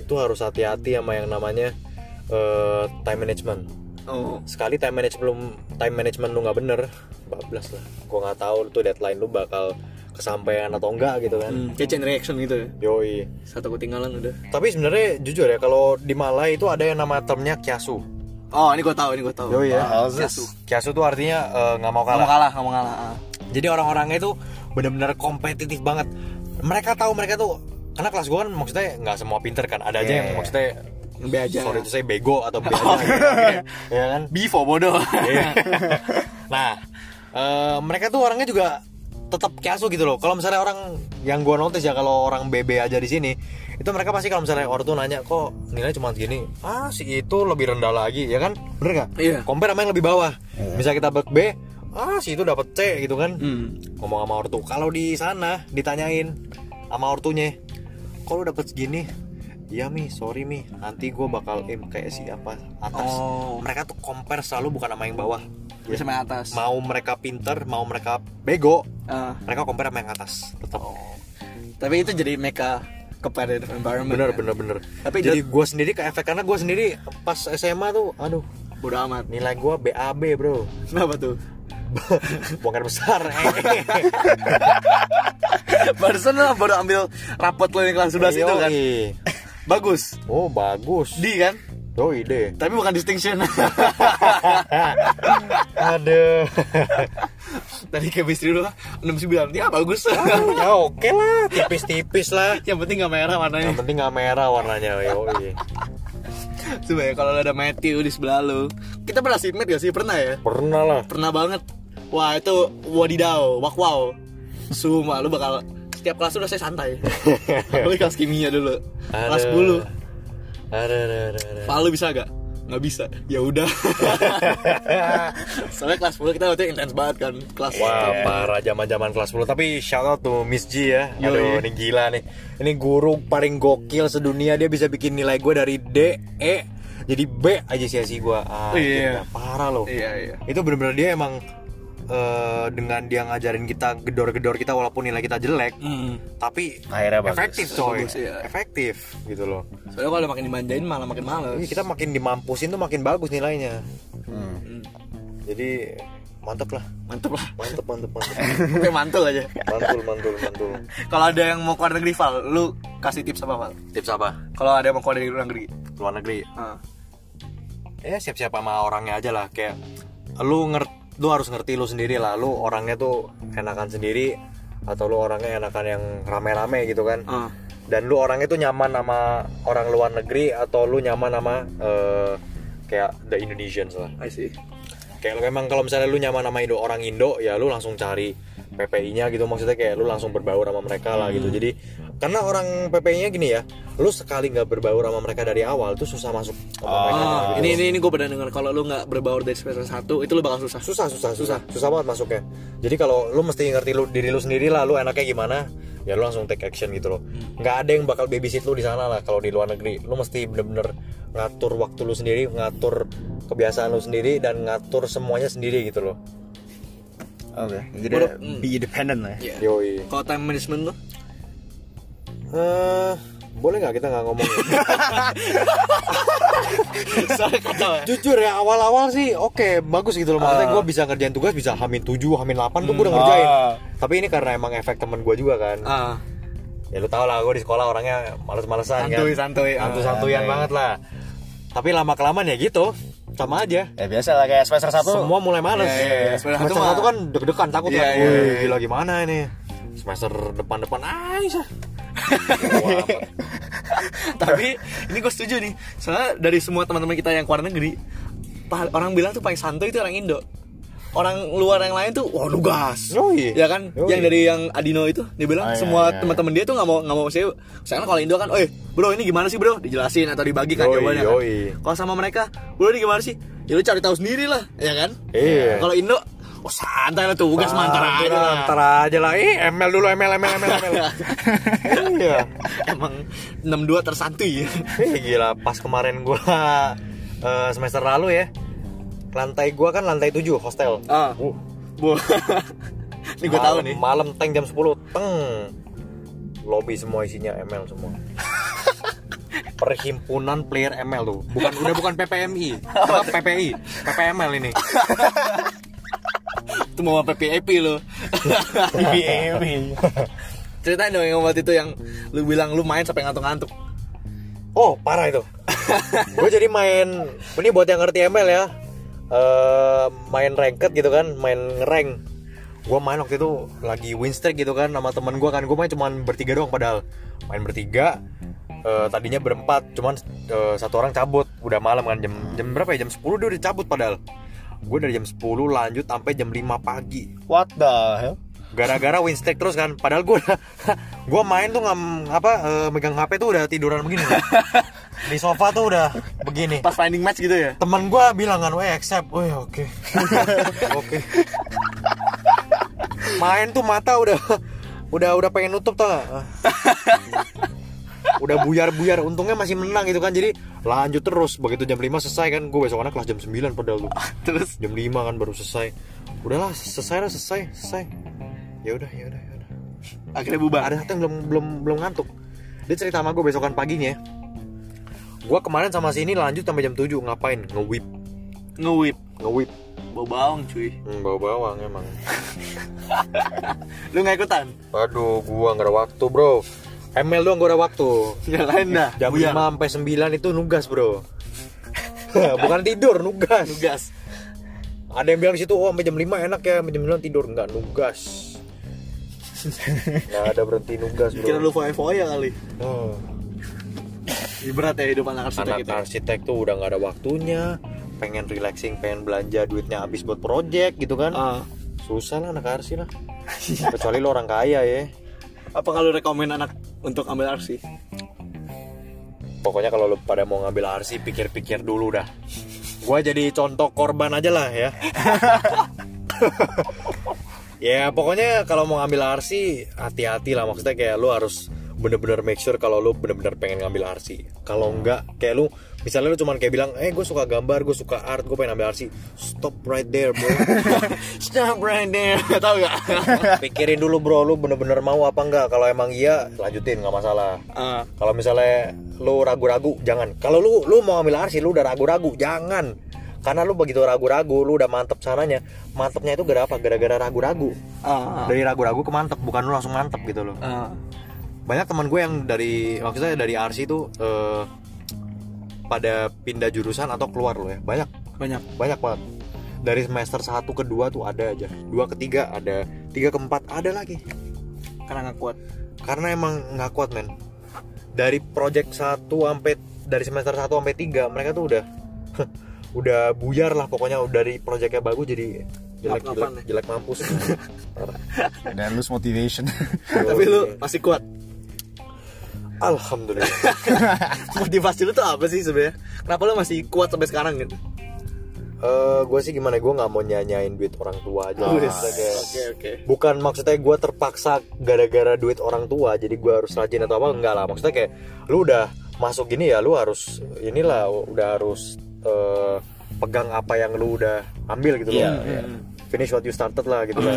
Speaker 3: itu harus hati-hati sama yang namanya eh, time management
Speaker 1: Oh.
Speaker 3: sekali time management belum time management lu nggak bener bablas lah gua nggak tahu tuh deadline lu bakal kesampaian atau enggak gitu kan
Speaker 1: Hmm, kayak chain reaction gitu ya.
Speaker 3: yoi
Speaker 1: Satu ketinggalan udah.
Speaker 3: tapi sebenarnya jujur ya kalau di Malay itu ada yang nama termnya kiasu
Speaker 1: Oh, iya? ini gue tahu, ini gue tahu.
Speaker 3: yoi ya
Speaker 2: How's this?
Speaker 3: kiasu tuh artinya eh, nggak mau
Speaker 1: Ah, Nggak mau
Speaker 3: kalah
Speaker 1: kalah, nggak mau kalah. ah.
Speaker 3: jadi orang-orangnya itu benar-benar kompetitif banget mereka tahu mereka tuh karena kelas gue kan maksudnya nggak semua pinter kan ada aja yang
Speaker 2: Yeah.
Speaker 3: maksudnya
Speaker 1: Yang B Iya, aja. Oh, iya.
Speaker 3: sorry itu saya bego atau B aja ya kan
Speaker 1: Bifo bodoh.
Speaker 3: Iya. nah eh, mereka tuh orangnya juga tetap kiasu gitu loh kalau misalnya orang yang gue notice ya kalau orang BB aja di sini itu mereka pasti kalau misalnya orang tuh nanya kok nilai cuma segini ah si itu lebih rendah lagi ya kan bener nggak
Speaker 1: Iya.
Speaker 3: compare sama yang lebih bawah bisa kita dapat B ah si itu dapat C gitu kan
Speaker 1: Hmm.
Speaker 3: ngomong sama ortu kalau di sana ditanyain sama ortunya kalau dapet segini iya mi sorry mi nanti gue bakal aim kayak siapa atas Iya.
Speaker 1: Oh.
Speaker 3: mereka tuh compare selalu bukan sama yang bawah
Speaker 1: Bisa main atas.
Speaker 3: mau mereka pinter mau mereka bego Oh,
Speaker 1: Ah,
Speaker 3: mereka compare sama yang atas tetap
Speaker 1: tapi itu jadi meka competitive environment.
Speaker 3: bener
Speaker 1: ya.
Speaker 3: bener bener
Speaker 1: Tapi
Speaker 3: jadi gue sendiri ke efek karena gue sendiri pas SMA tuh aduh
Speaker 1: Bodoh amat.
Speaker 3: nilai gue BAB bro
Speaker 1: Kenapa tuh?
Speaker 3: bukan besar eh.
Speaker 1: Barusan lo baru ambil rapot lo yang kelas 11 itu kan.
Speaker 3: Yoi.
Speaker 1: Bagus.
Speaker 3: oh bagus
Speaker 1: D kan?
Speaker 3: oh ide
Speaker 1: Tapi bukan distinction.
Speaker 3: Aduh.
Speaker 1: Tadi chemistry lo 69. Ya bagus.
Speaker 3: ya oke lah, tipis-tipis lah.
Speaker 1: yang penting gak merah warnanya.
Speaker 3: Yang penting nggak merah warnanya, yoi.
Speaker 1: Coba ya kalau ada Matthew di sebelah lu Kita pernah seatmate gak sih? Pernah ya?
Speaker 3: Pernah lah.
Speaker 1: Pernah banget Wah itu wadidaw, wak wow Sumpah lu bakal Setiap kelas udah saya santai Apalagi kelas kimia dulu Kelas
Speaker 3: Aduh.
Speaker 1: 10
Speaker 3: Aduh, aduh, aduh, aduh.
Speaker 1: Pak lu bisa gak? Gak bisa Ya udah Soalnya kelas 10 kita waktu itu intens banget kan Kelas
Speaker 3: Wah, parah zaman-zaman kelas 10. Tapi shout out tuh Miss G ya.
Speaker 1: Yoi.
Speaker 3: Aduh, ini gila nih. Ini guru paling gokil sedunia dia bisa bikin nilai gue dari D, E jadi B aja sih gue. Ah,
Speaker 1: Iya.
Speaker 3: gila, parah loh.
Speaker 1: Iya iya
Speaker 3: itu bener-bener dia emang eh, dengan dia ngajarin kita gedor-gedor kita walaupun nilai kita jelek
Speaker 1: Mm.
Speaker 3: tapi
Speaker 2: Akhirnya bagus.
Speaker 3: efektif coy
Speaker 1: Bagus, iya.
Speaker 3: efektif gitu loh
Speaker 1: Soalnya kalau makin dimanjain malah makin males
Speaker 3: Ini kita makin dimampusin tuh makin bagus nilainya
Speaker 2: Hmm.
Speaker 3: jadi mantep lah
Speaker 1: Mm. Mantep lah
Speaker 3: mantep mantep mantep
Speaker 1: Oke mantul aja
Speaker 3: mantul mantul mantul
Speaker 1: Kalau ada yang mau keluar negeri Val Lu kasih tips apa Val?
Speaker 3: tips apa
Speaker 1: Kalau ada yang mau keluar negeri, negeri.
Speaker 3: luar negeri
Speaker 1: Ah.
Speaker 3: ya siap-siap sama orangnya aja lah kayak lu ngerti lu harus ngerti lu sendiri lah lu orangnya tuh enakan sendiri atau lu orangnya enakan yang rame-rame gitu kan
Speaker 1: Ah.
Speaker 3: dan lu orangnya tuh nyaman sama orang luar negeri atau lu nyaman sama eh, kayak the Indonesians lah
Speaker 1: I see.
Speaker 3: kayak lu memang kalau misalnya lu nyaman sama Indo orang Indo ya lu langsung cari PPI-nya gitu maksudnya kayak lu langsung berbaur sama mereka lah
Speaker 1: Hmm.
Speaker 3: gitu jadi karena orang PPI-nya gini ya lu sekali nggak berbaur sama mereka dari awal tuh susah masuk sama mereka
Speaker 1: Oh,
Speaker 3: gitu.
Speaker 1: ini ini ini gue pernah dengar kalau lu nggak berbaur dari semester 1 itu lu bakal susah.
Speaker 3: susah susah susah susah banget masuknya jadi kalau lu mesti ngerti lu diri lu sendiri lah lu enaknya gimana ya lu langsung take action gitu loh
Speaker 2: Hmm.
Speaker 3: nggak ada yang bakal babysit lu di sana lah kalau di luar negeri lu mesti bener-bener ngatur waktu lu sendiri ngatur kebiasaan lu sendiri dan ngatur semuanya sendiri gitu loh
Speaker 2: Oke, jadi
Speaker 1: Baru-
Speaker 2: dia be independent lah. ya.
Speaker 1: Iya.
Speaker 3: yoi
Speaker 1: Kalau time management tuh
Speaker 3: eh boleh nggak kita nggak ngomong
Speaker 1: Soalnya kacau ya.
Speaker 3: jujur ya awal-awal sih oke bagus gitu loh maksudnya
Speaker 2: Ah.
Speaker 3: gue bisa ngerjain tugas bisa hamin 7 hamin 8 tuh gue udah ngerjain
Speaker 2: Ah.
Speaker 3: tapi ini karena emang efek temen gue juga kan
Speaker 1: Ah,
Speaker 3: ya lu tau lah gue di sekolah orangnya males-malesan kan
Speaker 1: santuy. Ah, iya,
Speaker 3: santu santuyan
Speaker 2: Santai.
Speaker 3: banget lah tapi lama kelamaan ya gitu sama aja
Speaker 2: Ya biasa lah kayak semester satu.
Speaker 3: semua mulai males
Speaker 1: Iya, iya, iya. Semester
Speaker 3: semester
Speaker 1: satu
Speaker 3: satu
Speaker 1: mah-
Speaker 3: kan deg-degan takut
Speaker 1: Iya,
Speaker 3: kan
Speaker 1: iya,
Speaker 3: Wih,
Speaker 1: iya.
Speaker 3: gila gimana ini semester depan-depan aja
Speaker 1: Tapi ini gue setuju nih. Soalnya dari semua teman-teman kita yang keluar negeri, pa- orang bilang tuh paling santuy itu orang Indo. Orang luar yang lain tuh, wah nugas.
Speaker 3: Yoi.
Speaker 1: Ya kan?
Speaker 3: Yoi.
Speaker 1: Yang dari yang Adino itu, dia bilang
Speaker 2: Ah, iya,
Speaker 1: semua
Speaker 2: iya,
Speaker 1: teman-teman dia tuh nggak mau nggak mau saya. Misalkan kalau Indo kan, eh bro ini gimana sih bro? Dijelasin atau dibagikan
Speaker 3: Yoi,
Speaker 1: jawabannya.
Speaker 3: yoi.
Speaker 1: Kan? Kalau sama mereka, bro ini gimana sih? Ya lu cari tahu sendiri lah, ya kan?
Speaker 3: Iya.
Speaker 1: Kalau Indo, oh santai lah tuh, tugas mantar aja
Speaker 3: Antara
Speaker 1: lah.
Speaker 3: antara aja lah eh ML dulu ML ML ML ML iya
Speaker 1: Emang 62 tersantuy ya.
Speaker 3: Ih, gila pas kemarin gua eh, semester lalu ya lantai gua kan lantai 7 hostel
Speaker 1: Ah.
Speaker 3: Uh,
Speaker 1: Bu. Ini gue tahu
Speaker 3: Malam-
Speaker 1: nih.
Speaker 3: Malam tank jam 10 Teng Lobby semua isinya ML semua Perhimpunan Player ML tuh. Bukan udah bukan PPMI, tetap PPI, PPML ini.
Speaker 1: itu mau PPAP lo
Speaker 2: PPAP.
Speaker 1: ceritain dong yang waktu itu yang lu bilang lu main sampai ngantuk-ngantuk
Speaker 3: Oh, parah itu. gue jadi main ini buat yang ngerti ML ya. Eh, main ranked gitu kan, main rank. Gue main waktu itu lagi win streak gitu kan sama temen gue kan. Gue main cuman bertiga doang padahal. Main bertiga. eh, tadinya berempat, cuman eh, satu orang cabut. Udah malam kan jam jam berapa ya? Jam 10 dia udah cabut padahal. Gue dari jam 10 lanjut sampai jam 5 pagi
Speaker 2: What the hell?
Speaker 3: gara-gara win stake terus kan padahal gue gue main tuh ngam apa eh, megang hp tuh udah tiduran begini di sofa tuh udah begini
Speaker 1: pas finding match gitu ya
Speaker 3: teman gue bilang kan weh accept weh oke oke main tuh mata udah udah udah pengen nutup tuh udah buyar-buyar untungnya masih menang gitu kan jadi lanjut terus begitu jam 5 selesai kan gue besok anak kelas jam 9 padahal tuh
Speaker 1: terus
Speaker 3: jam 5 kan baru selesai udahlah selesai lah selesai selesai ya udah ya udah ya udah
Speaker 1: akhirnya bubar
Speaker 3: ada satu yang belum belum belum ngantuk dia cerita sama gue besokan paginya gue kemarin sama si ini lanjut sampai jam 7 ngapain nge-whip
Speaker 1: ngewip
Speaker 3: nge-whip
Speaker 1: bau bawang cuy
Speaker 3: hmm, bawa bawang emang
Speaker 1: lu nggak ikutan
Speaker 3: aduh gua nggak ada waktu bro ML doang gua ada waktu
Speaker 1: jalan dah
Speaker 3: jam
Speaker 1: buyar.
Speaker 3: 5 sampai 9 itu nugas bro bukan tidur nugas
Speaker 1: tugas
Speaker 3: ada yang bilang di situ oh sampai jam 5 enak ya sampai jam 9 tidur nggak nugas nggak ada berhenti nugas bro
Speaker 1: kira lu foya foya kali
Speaker 3: Oh,
Speaker 1: Ih, berat ya hidup anak arsitek
Speaker 3: anak
Speaker 1: gitu
Speaker 3: arsitek tuh udah nggak ada waktunya pengen relaxing pengen belanja duitnya habis buat project gitu kan
Speaker 1: Ah.
Speaker 3: susah lah anak arsi lah kecuali lo orang kaya ya
Speaker 1: apa kalau rekomen anak untuk ambil arsi
Speaker 3: pokoknya kalau lo pada mau ngambil arsi pikir-pikir dulu dah gua jadi contoh korban aja lah ya ya pokoknya kalau mau ngambil arsi hati-hati lah maksudnya kayak lo harus bener-bener make sure kalau lo bener-bener pengen ngambil arsi kalau enggak kayak lu misalnya lu cuman kayak bilang eh gue suka gambar gue suka art gue pengen ambil arsi stop right there bro
Speaker 1: stop right there tahu nggak
Speaker 3: pikirin dulu bro lu bener-bener mau apa enggak kalau emang iya lanjutin nggak masalah
Speaker 1: Ah,
Speaker 3: kalau misalnya lu ragu-ragu jangan kalau lu lu mau ambil arsi lu udah ragu-ragu jangan karena lu begitu ragu-ragu lu udah mantep sananya mantepnya itu gara apa gara-gara ragu-ragu
Speaker 1: ah,
Speaker 3: dari ragu-ragu ke mantep bukan lu langsung mantep gitu loh
Speaker 1: ah.
Speaker 3: banyak teman gue yang dari maksudnya dari arsi itu eh, pada pindah jurusan atau keluar loh ya banyak
Speaker 1: banyak
Speaker 3: banyak banget dari semester 1 ke 2 tuh ada aja 2 ke 3 ada 3 ke 4 ada lagi
Speaker 1: karena nggak kuat
Speaker 3: karena emang nggak kuat men dari project 1 sampai dari semester 1 sampai 3 mereka tuh udah udah buyar lah pokoknya dari projectnya bagus jadi jelek jelek,
Speaker 1: Lap-lapan ya?
Speaker 3: jelek mampus Parah.
Speaker 2: Dan lose motivation.
Speaker 1: tapi lu masih kuat
Speaker 3: alhamdulillah
Speaker 1: motivasi lu tuh apa sih sebenarnya kenapa lu masih kuat sampai sekarang gitu
Speaker 3: Eh gue sih gimana gue nggak mau nyanyain duit orang tua aja
Speaker 1: Wes.
Speaker 3: Maksudnya kayak-
Speaker 1: Ah, oke oke
Speaker 3: bukan maksudnya gue terpaksa gara-gara duit orang tua jadi gue harus rajin atau apa enggak lah maksudnya kayak lu udah masuk gini ya lu harus inilah udah harus eh, pegang apa yang lu udah ambil gitu
Speaker 2: Iya,
Speaker 3: loh finish what you started lah gitu kan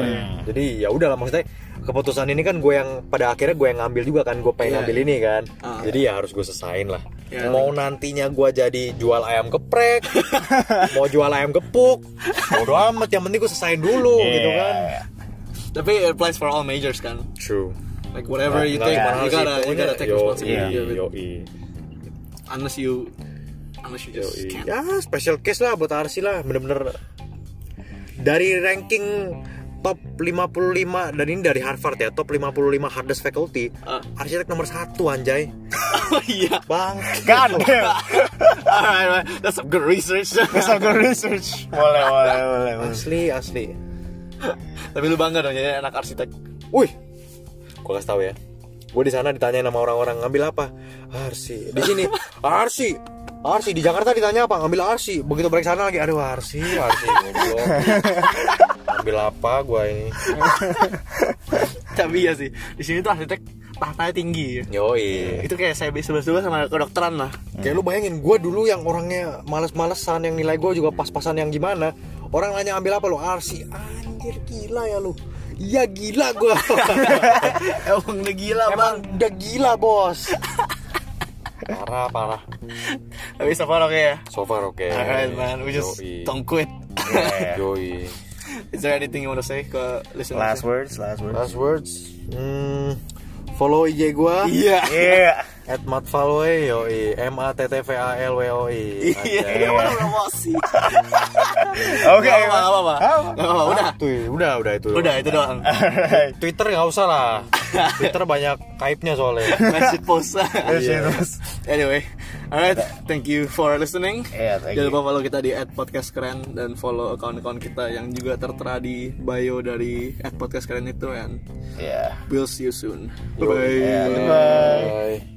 Speaker 3: jadi ya udah lah maksudnya keputusan ini kan gue yang pada akhirnya gue yang ngambil juga kan gue pengen
Speaker 1: Iya.
Speaker 3: ngambil ini kan
Speaker 1: Ah.
Speaker 3: jadi ya harus gue sesain lah
Speaker 1: Iya.
Speaker 3: mau nantinya gue jadi jual ayam geprek mau jual ayam gepuk bodo amat yang penting gue sesain dulu gitu kan
Speaker 1: tapi it applies for all majors kan
Speaker 3: True.
Speaker 1: like whatever you take you gotta you gotta take responsibility of it. unless you unless you just can't
Speaker 3: Ya, special case lah buat Arsi lah, bener-bener dari ranking top 55 dan ini dari Harvard ya, top 55 hardest faculty.
Speaker 1: Ah.
Speaker 3: Arsitek nomor satu anjay.
Speaker 1: oh iya
Speaker 3: Bang.
Speaker 2: God damn.
Speaker 1: alright alright. that's some good research
Speaker 2: Let's have good research. Boleh, boleh, boleh. boleh.
Speaker 3: Asli, asli.
Speaker 1: tapi lu bangga dong jadi anak arsitek
Speaker 3: Wih. Gua kasih tahu ya. Gue di sana ditanyain sama orang-orang ngambil apa? Arsi. Di sini Arsi. Arsi di Jakarta ditanya apa? Ngambil Arsi. Begitu balik sana lagi, aduh Arsi, Arsi goblok. Ngambil apa gua ini?
Speaker 1: tapi iya sih di sini tuh arsitek tahtanya tinggi ya.
Speaker 3: Yoi.
Speaker 1: itu kayak saya sebelum sebelum sama kedokteran lah
Speaker 3: Kayak lu bayangin gue dulu yang orangnya males-malesan yang nilai gue juga pas-pasan yang gimana Orang nanya ambil apa lu? Arsi Anjir gila ya lu Iya gila gue
Speaker 1: emang udah gila bang
Speaker 3: Emang udah gila bos parah parah
Speaker 1: Tapi so far oke ya.
Speaker 3: so far oke
Speaker 1: Alright man, we just
Speaker 3: Yoi.
Speaker 1: don't quit.
Speaker 2: Yeah.
Speaker 3: Yoi.
Speaker 1: Is there anything you want to say ke listeners?
Speaker 2: last words, last words.
Speaker 3: last words hmm, follow IG gua
Speaker 1: Iya.
Speaker 2: Yeah.
Speaker 3: at matvalwe yoi m a t t v a l w o i
Speaker 1: Iya,
Speaker 2: Iya.
Speaker 1: mana promosi.
Speaker 2: Oke.
Speaker 1: Gak apa-apa, gak apa-apa. Gak apa-apa, Oh, udah.
Speaker 3: Tuh, udah udah itu doang.
Speaker 1: Udah, itu doang.
Speaker 2: Alright.
Speaker 3: Twitter nggak usah lah Twitter banyak kaibnya soalnya
Speaker 1: Masih post.
Speaker 2: Iya.
Speaker 1: Anyway, alright, thank you for listening.
Speaker 2: Yeah, Eh, thank
Speaker 1: Jangan
Speaker 2: you.
Speaker 1: lupa follow kita di @podcastkeren dan follow account-account kita yang juga tertera di bio dari @podcastkeren itu and
Speaker 2: Yeah.
Speaker 1: we'll see you soon. Bye.
Speaker 2: Yeah. Goodbye.
Speaker 3: Bye.